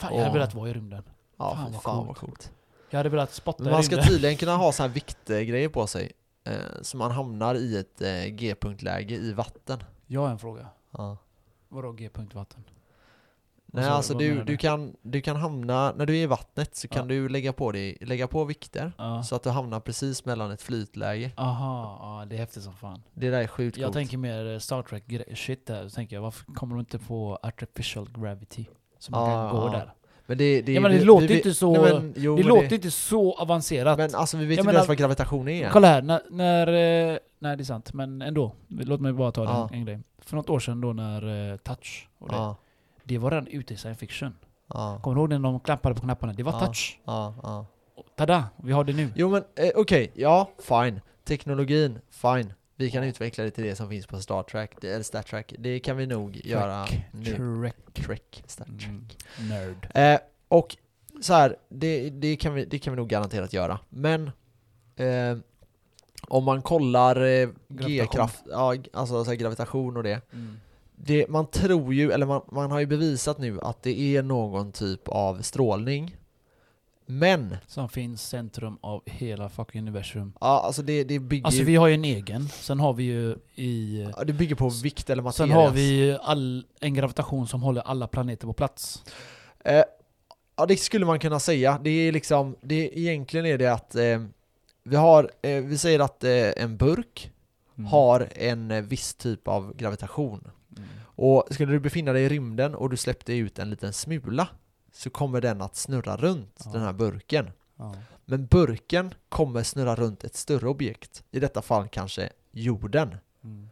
B: Fan, jag
A: Åh.
B: hade velat vara i rymden.
A: Ja,
B: Fan,
A: fy
B: vad
A: fan
B: coolt.
A: vad coolt.
B: Jag hade velat spotta i
A: Men man ska
B: rymden.
A: tydligen kunna ha så här viktgrejer på sig, eh, så man hamnar i ett eh, G-punktläge i vatten.
B: Jag har en fråga.
A: Ja.
B: Vadå g-punktvatten?
A: Nej,
B: sa du?
A: alltså
B: Vad
A: du,
B: menar du?
A: du, kan, du kan hamna, när du är i vattnet så kan
B: Ja.
A: du lägga på, dig, lägga på vikter.
B: Ja.
A: Så att du hamnar precis mellan ett flytläge.
B: Aha, ja, det är häftigt som fan.
A: Det där är sjukt
B: Jag
A: coolt.
B: tänker mer eh, Star Trek gre- shit där. Så tänker jag, varför kommer de inte på artificial gravity? Så man
A: Ja,
B: kan gå
A: ja.
B: där.
A: Men det, det,
B: Ja, men det
A: vi-
B: låter
A: vi-
B: inte så-
A: Nej, men, jo,
B: det
A: men
B: låter inte så avancerat.
A: Men alltså vi vet
B: Jag
A: inte
B: menar-
A: ens vad gravitation är.
B: Kolla här, när, när... eh, Nej det är sant, men ändå. Låt mig bara ta
A: Ja.
B: en, en grej. För något år sedan då när eh, Touch och det,
A: Ja,
B: det var redan ute i science fiction.
A: ja,
B: Kommer du ihåg när de klappade på knapparna? Det var
A: Ja.
B: Touch.
A: ja, ja.
B: Och Tada! Vi har det nu.
A: Jo men eh, okej, ja, fine. Teknologin, fine. Vi kan utveckla det till det som finns på Star Trek, det, eller Star Trek. Det kan vi nog göra nu.
B: Trek.
A: Trek, Star Trek.
B: Mm. Nerd.
A: Eh, och så här, det, det, kan vi, det kan vi nog garanterat göra. Men eh, om man kollar eh,
B: Gravitation.
A: G-kraft, ja, g- alltså så här, gravitation och det.
B: Mm.
A: det. Man tror ju, eller man, man har ju bevisat nu att det är någon typ av strålning. Men,
B: Som finns centrum av hela fucking universum.
A: ja, alltså det, det bygger
B: Alltså
A: ju,
B: vi har ju en egen, sen har vi ju i...
A: ja, det bygger på vikt eller materia.
B: Sen har vi ju all, en gravitation som håller alla planeter på plats.
A: Eh, ja, det skulle man kunna säga. Det är liksom, det, egentligen är det att eh, vi har, eh, vi säger att eh, en burk
B: Mm.
A: har en eh, viss typ av gravitation.
B: Mm.
A: Och skulle du befinna dig i rymden och du släppte ut en liten smula så kommer den att snurra runt
B: Ja.
A: den här burken.
B: Ja.
A: Men burken kommer snurra runt ett större objekt, i detta fall kanske jorden.
B: Mm.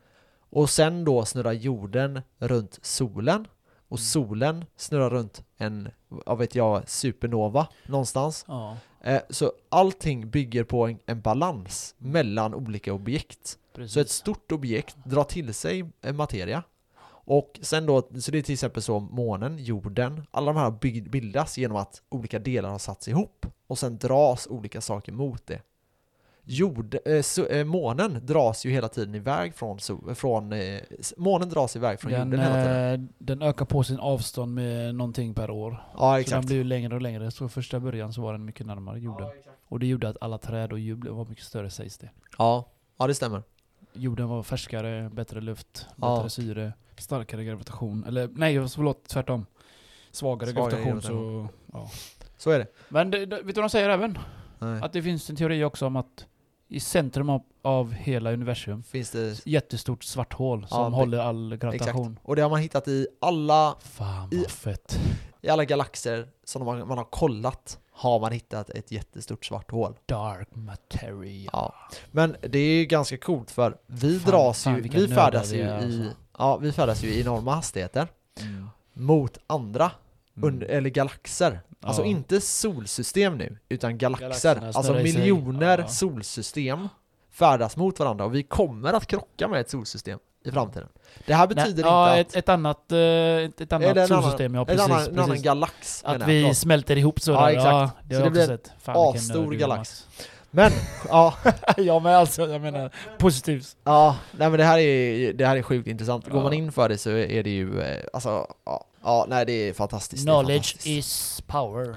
A: Och sen då snurrar jorden runt solen och
B: Mm.
A: solen snurrar runt en, vad vet jag, supernova någonstans.
B: ja,
A: Eh, så allting bygger på en, en balans mellan olika objekt.
B: precis.
A: Så ett stort objekt drar till sig en materia. Och sen då, så det är till exempel så månen, jorden, alla de här bygg- bildas genom att olika delar har satts ihop och sen dras olika saker mot det. Jord, eh, så, eh, månen dras ju hela tiden iväg från, so, från eh, s- månen dras iväg från
B: den,
A: jorden hela tiden.
B: eh, den ökar på sin avstånd med någonting per år.
A: Ja,
B: Så den
A: exakt.
B: blir ju längre och längre. Så första början så var den mycket närmare jorden. Och det gjorde att alla träd och djur blev- var mycket större sägs det.
A: Ja, ja, det stämmer.
B: Jorden var färskare, bättre luft,
A: Ja.
B: bättre syre, starkare gravitation. Eller nej, förlåt, tvärtom. Svagare,
A: Svagare
B: gravitation. Så, ja.
A: Så är det.
B: Men det, det, vet du vad de säger även?
A: Nej.
B: Att det finns en teori också om att i centrum av, av hela universum,
A: Finns det...
B: ett jättestort svart hål som
A: Ja, be-
B: håller all
A: Exakt.
B: gravitation.
A: Och det har man hittat i alla
B: Fan
A: I-
B: vad fett.
A: I alla galaxer som man, man har kollat har man hittat ett jättestort svart hål.
B: Dark materia.
A: Ja. Men det är ju ganska coolt för vi
B: Fan-
A: dras
B: fan
A: ju,
B: vilka
A: vi
B: nördar
A: färdas
B: vi
A: ju
B: är
A: i,
B: alltså.
A: ja, vi färdas ju i enorma hastigheter
B: Mm.
A: mot andra,
B: Mm.
A: under, eller galaxer. Alltså
B: Ja.
A: inte solsystem nu, utan galaxer.
B: Galaxerna
A: Alltså
B: snurrar i sig.
A: miljoner
B: Ja.
A: solsystem färdas mot varandra och vi kommer att krocka med ett solsystem i framtiden. Det här
B: Nej,
A: betyder inte
B: ja,
A: att...
B: ett, ett annat, eh, ett, ett annat
A: Eller en annan-
B: solsystem, ja
A: en
B: precis.
A: annan, en annan
B: precis.
A: galax menar
B: Att
A: jag,
B: vi
A: förlåt.
B: smälter ihop
A: Ja,
B: sådär.
A: exakt.
B: Ja,
A: Så
B: det har
A: det
B: jag också
A: blir
B: sett. Fan, vilken
A: asstor
B: nörd du är,
A: galax. Men, ja,
B: Max. ja men alltså, jag menar positivt.
A: ja, nej men det här är, det här är sjukt intressant. Går
B: Ja.
A: man in för det så är det ju, eh, alltså, ja, ja nej det är fantastiskt. det är
B: Knowledge
A: fantastiskt.
B: is power.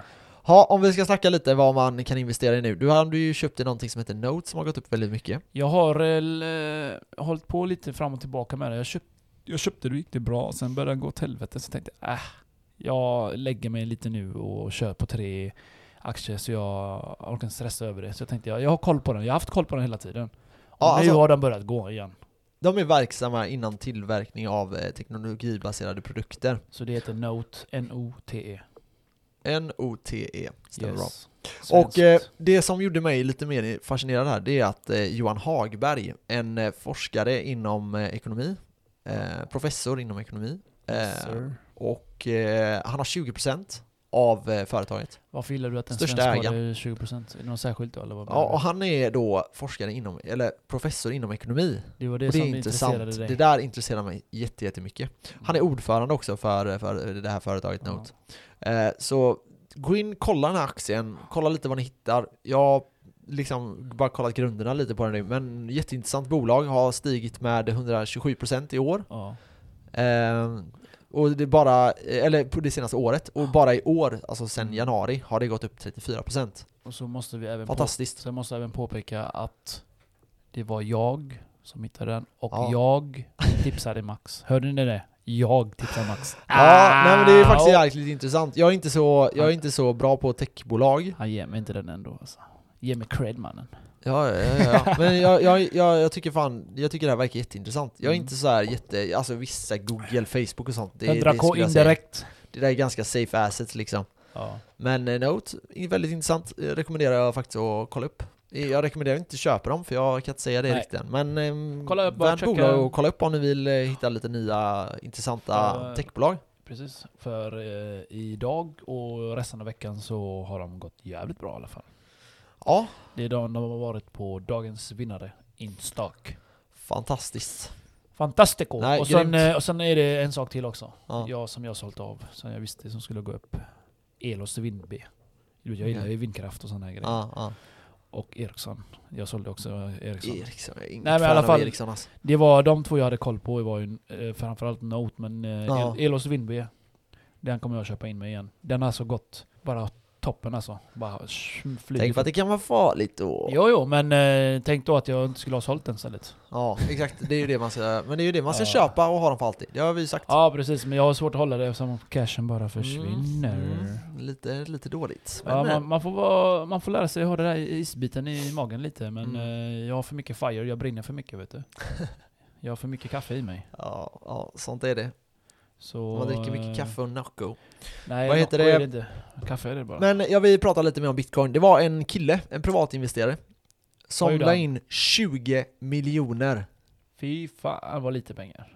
A: Ja, om vi ska snacka lite vad man kan investera i nu. Du hade ju köpt dig någonting som heter Note som har gått upp väldigt mycket.
B: Jag har eh, hållit på lite fram och tillbaka med det. Jag, köp, jag köpte det och gick det bra, sen började den gå åt helvete. Så tänkte jag, äh, jag lägger mig lite nu och kör på tre aktier så jag orkar inte stressa över det. Så jag tänkte, jag, jag har koll på den. Jag har haft koll på den hela tiden. Och
A: Ja,
B: nu
A: alltså-
B: har den börjat gå igen.
A: De är verksamma inom tillverkning av eh, teknologibaserade produkter.
B: Så det heter Note, N-O-T-E.
A: NOTE, stämmer bra.
B: Yes.
A: E. Och
B: Svenskt.
A: eh, det som gjorde mig lite mer fascinerad här, det är att eh, Johan Hagberg, en eh, forskare inom eh, ekonomi, eh, professor inom ekonomi,
B: Yes,
A: eh,
B: sir.
A: och eh, han har 20% av eh, företaget.
B: Varför gillar du att en
A: största
B: svensk har
A: ägaren.
B: det 20%? Är det något särskilt då eller? Vad
A: Ja, och han är då forskare inom, eller professor inom ekonomi.
B: det var det,
A: och det
B: som
A: är
B: intresserade
A: intressant.
B: dig.
A: Det där intresserar mig jätte- jättemycket. Han är ordförande också för, eh, för det här företaget
B: Ja.
A: Note. Eh, så gå in, kolla den här aktien, kolla lite vad ni hittar. Jag har liksom bara kollat grunderna lite på den nu, men jätteintressant bolag, har stigit med 127% i år.
B: Ja.
A: Eh, och det är bara, eller på det senaste året, och bara i år, alltså sedan januari, har det gått upp 34%.
B: Och så måste vi även på,
A: Fantastiskt.
B: så jag måste även påpeka att det var jag som hittade den och
A: Ja.
B: jag tipsade Max. Hörde ni det? Jag tipsade Max.
A: Ja, Ah! nej men det är faktiskt
B: och-
A: jäkligt intressant. Jag är inte så, jag är inte så bra på techbolag.
B: Han ger mig inte den ändå alltså. Ge mig cred mannen.
A: Ja, ja, ja, ja. men jag, jag, jag, jag tycker fan, jag tycker det här verkar jätteintressant. Jag är
B: Mm.
A: inte så här jätte, alltså vissa Google, Facebook och sånt. Det, det,
B: 100k
A: skulle jag säga.
B: indirekt.
A: det där är ganska safe assets liksom.
B: Ja.
A: Men eh, Note, är väldigt intressant, Eh, rekommenderar jag faktiskt att kolla upp. Eh, Jag rekommenderar inte att köpa dem för jag kan inte säga det
B: Nej.
A: riktigt än. Men ehm,
B: Kolla upp, bara
A: värt
B: checka.
A: bolag och kolla upp om ni vill eh, hitta lite nya intressanta
B: Ja. eh.
A: techbolag.
B: Precis. För eh, idag och resten av veckan så har de gått jävligt bra i alla fall.
A: Ja,
B: Det är de, de har varit på dagens vinnare, Instak.
A: fantastiskt.
B: Fantastico!
A: Nej,
B: och, sen,
A: grymt.
B: eh, och sen är det en sak till också.
A: Ja.
B: Jag som jag har sålt av, som jag visste som skulle gå upp. Elos Vind B. Du vet, Jag gillar
A: Okej.
B: ju vindkraft och sådana här grejer.
A: Ja, ja.
B: Och Ericsson. Jag sålde också Ericsson.
A: Ericsson, jag är inget
B: Nej, men i
A: fan
B: alla
A: av
B: fall-
A: Ericsson alltså.
B: Det var de två jag hade koll på, var ju eh, framförallt Note, men eh,
A: Ja.
B: El- Elos Vind B. Den kommer jag köpa in mig igen. Den har alltså gått bara toppen alltså. Bara sh- flyger.
A: Tänk på att det kan vara farligt och...
B: Jo, jo, men eh, tänk då att jag inte skulle ha sålt den istället.
A: Ja, exakt. Det är ju det man ska, men det är ju det man ska
B: Ja.
A: köpa och ha dem för alltid. Det har vi ju sagt.
B: Ja precis, men jag har svårt att hålla det eftersom cashen bara försvinner.
A: Mm. Lite, lite dåligt. Men,
B: Ja,
A: eh,
B: man, man, får vara, man får lära sig att ha den där isbiten i magen lite, men
A: Mm.
B: eh, jag har för mycket fire, jag brinner för mycket vet du. jag har för mycket kaffe i mig.
A: ja, ja, sånt är det.
B: Så,
A: Man dricker
B: eh,
A: mycket kaffe och Nocco.
B: Nej,
A: Vad heter
B: Nocco är
A: det?
B: inte. Kaffe är det bara.
A: Men jag vill prata lite mer om bitcoin. Det var en kille, en privatinvesterare,
B: Vad
A: som
B: gjorde
A: la
B: han?
A: in 20 miljoner
B: Fy fan vad lite pengar.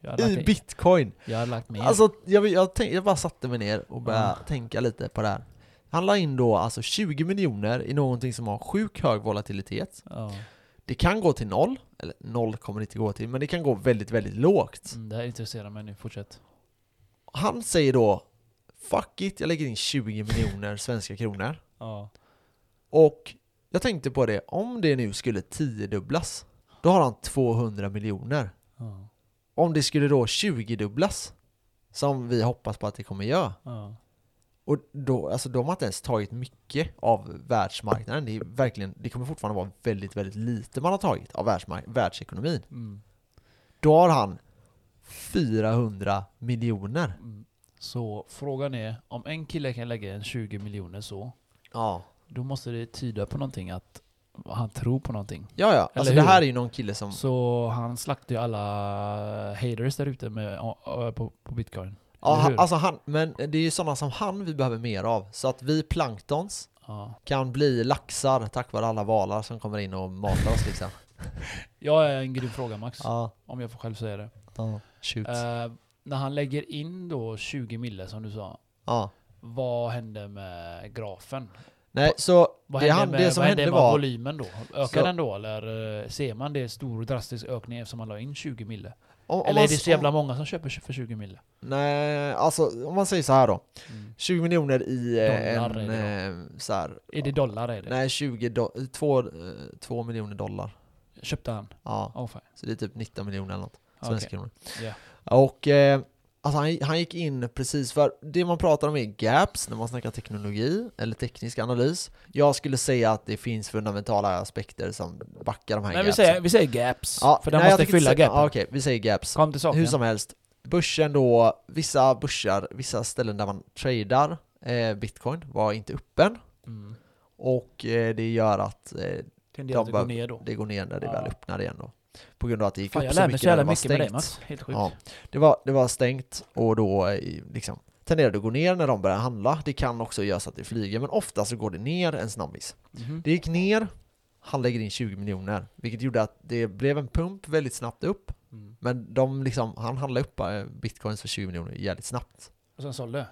B: Jag hade,
A: i
B: lagt,
A: bitcoin.
B: jag hade lagt mer.
A: Alltså, jag, vill- jag, tänk, jag bara satte mig ner och började
B: Ja.
A: tänka lite på det här. Han la in då alltså 20 miljoner i någonting som har sjuk hög volatilitet.
B: ja.
A: Det kan gå till noll, eller noll kommer det inte gå till, men det kan gå väldigt, väldigt lågt.
B: mm, det här intresserar mig nu, fortsätt.
A: Han säger då Fuck it, jag lägger in 20 miljoner svenska kronor
B: Ja.
A: Och jag tänkte på det, om det nu skulle tiodubblas Då har han 200 miljoner
B: Ja.
A: Om det skulle då 20-dubblas Som vi hoppas på att det kommer göra
B: Ja.
A: Och då, alltså de har inte ens tagit mycket av världsmarknaden Det är verkligen, det kommer fortfarande vara väldigt, väldigt lite man har tagit av världsmark- världsekonomin
B: Mm.
A: Då har han 400 miljoner
B: Mm. Så frågan är, om en kille kan lägga en 20 miljoner så,
A: Ja
B: då måste det tyda på någonting att han tror på någonting.
A: Ja, ja. Alltså
B: hur?
A: det här är ju någon kille som
B: Så han slaktade ju alla haters där ute med, på, på bitcoin.
A: Ja,
B: Eller
A: han,
B: hur?
A: alltså han, men det är ju sådana som han vi behöver mer av. Så att vi planktons
B: Ja.
A: kan bli laxar tack vare alla valar som kommer in och matar oss liksom.
B: Jag är en grym fråga Max,
A: Ja,
B: om jag får själv säga det.
A: ja, shoot.
B: Eh, när han lägger in då 20 mille som du sa,
A: Ja.
B: vad händer med grafen?
A: Nej, så
B: Vad
A: det,
B: händer
A: han,
B: med,
A: det som
B: vad händer
A: hände
B: med
A: var...
B: volymen då? Ökar
A: Så-
B: den då eller eh, ser man det är stor och drastisk ökning eftersom man la in 20 mille?
A: om- om
B: eller är
A: man-
B: det så jävla många som köper för 20 mille?
A: Nej, alltså om man säger så här då.
B: Mm.
A: 20 miljoner i eh,
B: Dollar
A: en...
B: är
A: eh, Så här,
B: Är det dollar? Är det?
A: Nej, 20 do, 2, 2 miljoner dollar.
B: Köpte han?
A: Ja,
B: Åh fan.
A: så det är typ 19 miljoner eller något.
B: Ja,
A: Svenska
B: okej.
A: kronor.
B: Ja.
A: Och eh, alltså han, han gick in precis för, det man pratar om är gaps när man snackar teknologi eller teknisk analys. Jag skulle säga att det finns fundamentala aspekter som backar de här
B: Men vi
A: gapsen.
B: säger, vi säger gaps,
A: Ja,
B: för den
A: nej, jag
B: måste
A: tänkte
B: fylla
A: säga-
B: gapen.
A: ja, Okej, vi säger gaps.
B: Kom till saken.
A: Hur som helst, börsen då, vissa börser, vissa ställen där man tradar eh, bitcoin var inte öppen
B: mm.
A: och eh, det gör att eh,
B: Tenderar att
A: De
B: gå
A: bara-
B: ner då.
A: det går ner när det
B: Ja.
A: väl öppnar igen då. På grund av att det gick
B: Fan,
A: upp
B: jag
A: så
B: lär mig
A: mycket
B: så
A: när
B: jävla
A: det var
B: mycket med dig
A: stängt.
B: Mats. Helt sjukt.
A: Ja, det, var, det var stängt och då eh, liksom, tenderade att gå ner när de började handla. Det kan också göra så att det flyger, men ofta så går det ner en snabbis.
B: Mhm.
A: Det gick ner, han lägger in 20 miljoner, vilket gjorde att det blev en pump väldigt snabbt upp.
B: Mm.
A: Men de liksom, han handlade upp eh, bitcoins för 20 miljoner jävligt snabbt.
B: Och sen sålde.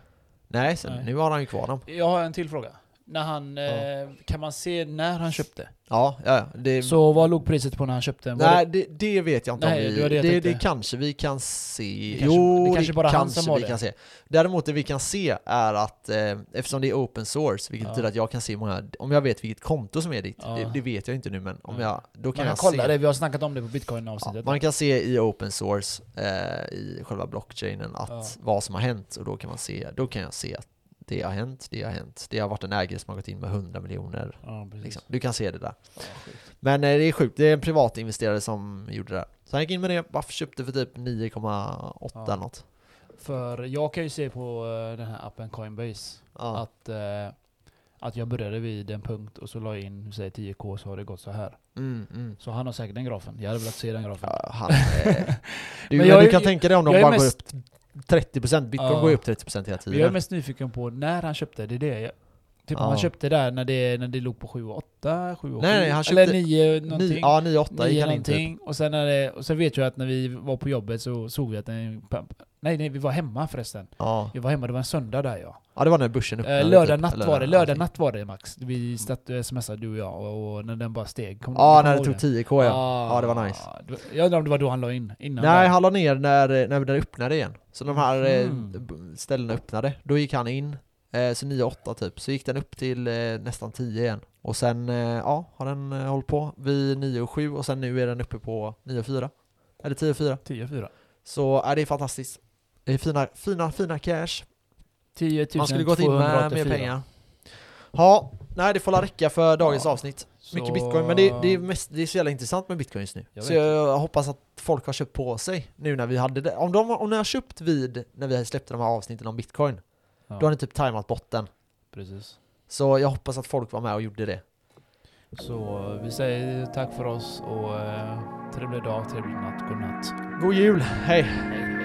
A: Nej, sen,
B: Nej.
A: nu har han ju kvar dem.
B: Jag har en till fråga. När han, eh, kan man se när han köpte?
A: Ja, ja, ja. Det,
B: Så vad låg priset på när han köpte den? Var
A: nej, det, det vet jag inte
B: Nej,
A: om
B: det
A: vi...
B: var det
A: Det,
B: jag
A: det,
B: tänkte.
A: kanske vi kan se.
B: Det kanske-
A: jo,
B: det kanske bara han som har
A: vi
B: det.
A: kan se. Däremot det vi kan se är att eh, eftersom det är open source, vilket
B: Ja.
A: betyder att jag kan se många... Om jag vet vilket konto som är ditt,
B: Ja.
A: det, det vet jag inte nu, men om
B: Mm.
A: jag... Då
B: man
A: kan
B: kan
A: jag
B: kolla
A: se.
B: det, vi har snackat om det på
A: Ja,
B: bitcoin-avsnittet.
A: man kan se i open source, eh, i själva blockchainen, att
B: Ja.
A: vad som har hänt och då kan man se, då kan jag se att det har hänt, det har hänt, det har varit en ägare som har gått in med 100 miljoner.
B: Ja, precis.
A: Liksom. Du kan se det där.
B: Ja, sjukt.
A: Men eh, det är sjukt, det är en privatinvesterare som gjorde det. Så han gick in med det, bara köpte för typ 9,8
B: Ja.
A: eller något.
B: För jag kan ju se på eh, den här appen Coinbase
A: Ja.
B: att, eh, att jag började vid en punkt och så la jag in säg 10k så har det gått så här.
A: Mm, mm.
B: Så han har säkert den grafen. Jag hade velat se den grafen.
A: Ja, han, eh, du,
B: Men
A: men
B: jag
A: du
B: är-
A: kan tänka dig om de
B: jag är
A: bara
B: mest-
A: går upp 30%, bitcoin
B: Ja.
A: går ju upp 30% hela
B: Men jag är
A: tiden.
B: mest nyfiken på när han köpte, det är det jag... Typ
A: Ja.
B: om han köpte där när det, när det låg på 7 och 8, 7 och
A: Nej,
B: sju,
A: nej, han
B: Eller
A: köpte Ni,
B: 9 någonting.
A: ja, 9,8 gick
B: Nio
A: han in typ.
B: någonting. Och sen, när det, och sen vet jag att när vi var på jobbet så såg vi att den... Nej, nej, vi var hemma förresten.
A: Ja.
B: Vi var hemma, det var en söndag där ja.
A: ja, det var när börsen öppnade.
B: Eh, lördag
A: typ,
B: natt
A: eller
B: var det,
A: när
B: lördag
A: allting-
B: natt var det Max. Vi satt och smsade du och jag och, och när den bara steg. Kom,
A: Ja,
B: kom
A: när
B: ihåg
A: det tog 10k ja. Ja, det var nice.
B: var- Jag undrar om det var då han la in? Innan
A: Nej,
B: där.
A: han la ner när, när det öppnade igen. Så de här eh,
B: Mhm.
A: b- ställena öppnade, då gick han in, eh, så 9-8 typ. Så gick den upp till eh, nästan 10 igen. Och sen, eh, ja, har den eh, hållit på vid 9-7 och sen nu är den uppe på 9-4. Eller 10-4.
B: 10-4.
A: Så är det är fantastiskt. Det är fina, fina, fina cash.
B: 10
A: Man skulle gått in med mer pengar. Ja, nej det får la räcka för dagens
B: Ja.
A: avsnitt. Mycket bitcoin, men det, det, är mest, det är så jävla intressant med bitcoin just nu.
B: Jag
A: så
B: vet.
A: jag hoppas att folk har köpt på sig nu när vi hade det. Om, de, om ni har köpt vid när vi släppte de här avsnitten om bitcoin,
B: Ja.
A: då har ni typ tajmat botten.
B: Precis.
A: Så jag hoppas att folk var med och gjorde det.
B: Så eh, vi säger tack för oss och eh, trevlig dag, trevlig natt, god natt.
A: God jul, hej!
B: Hej.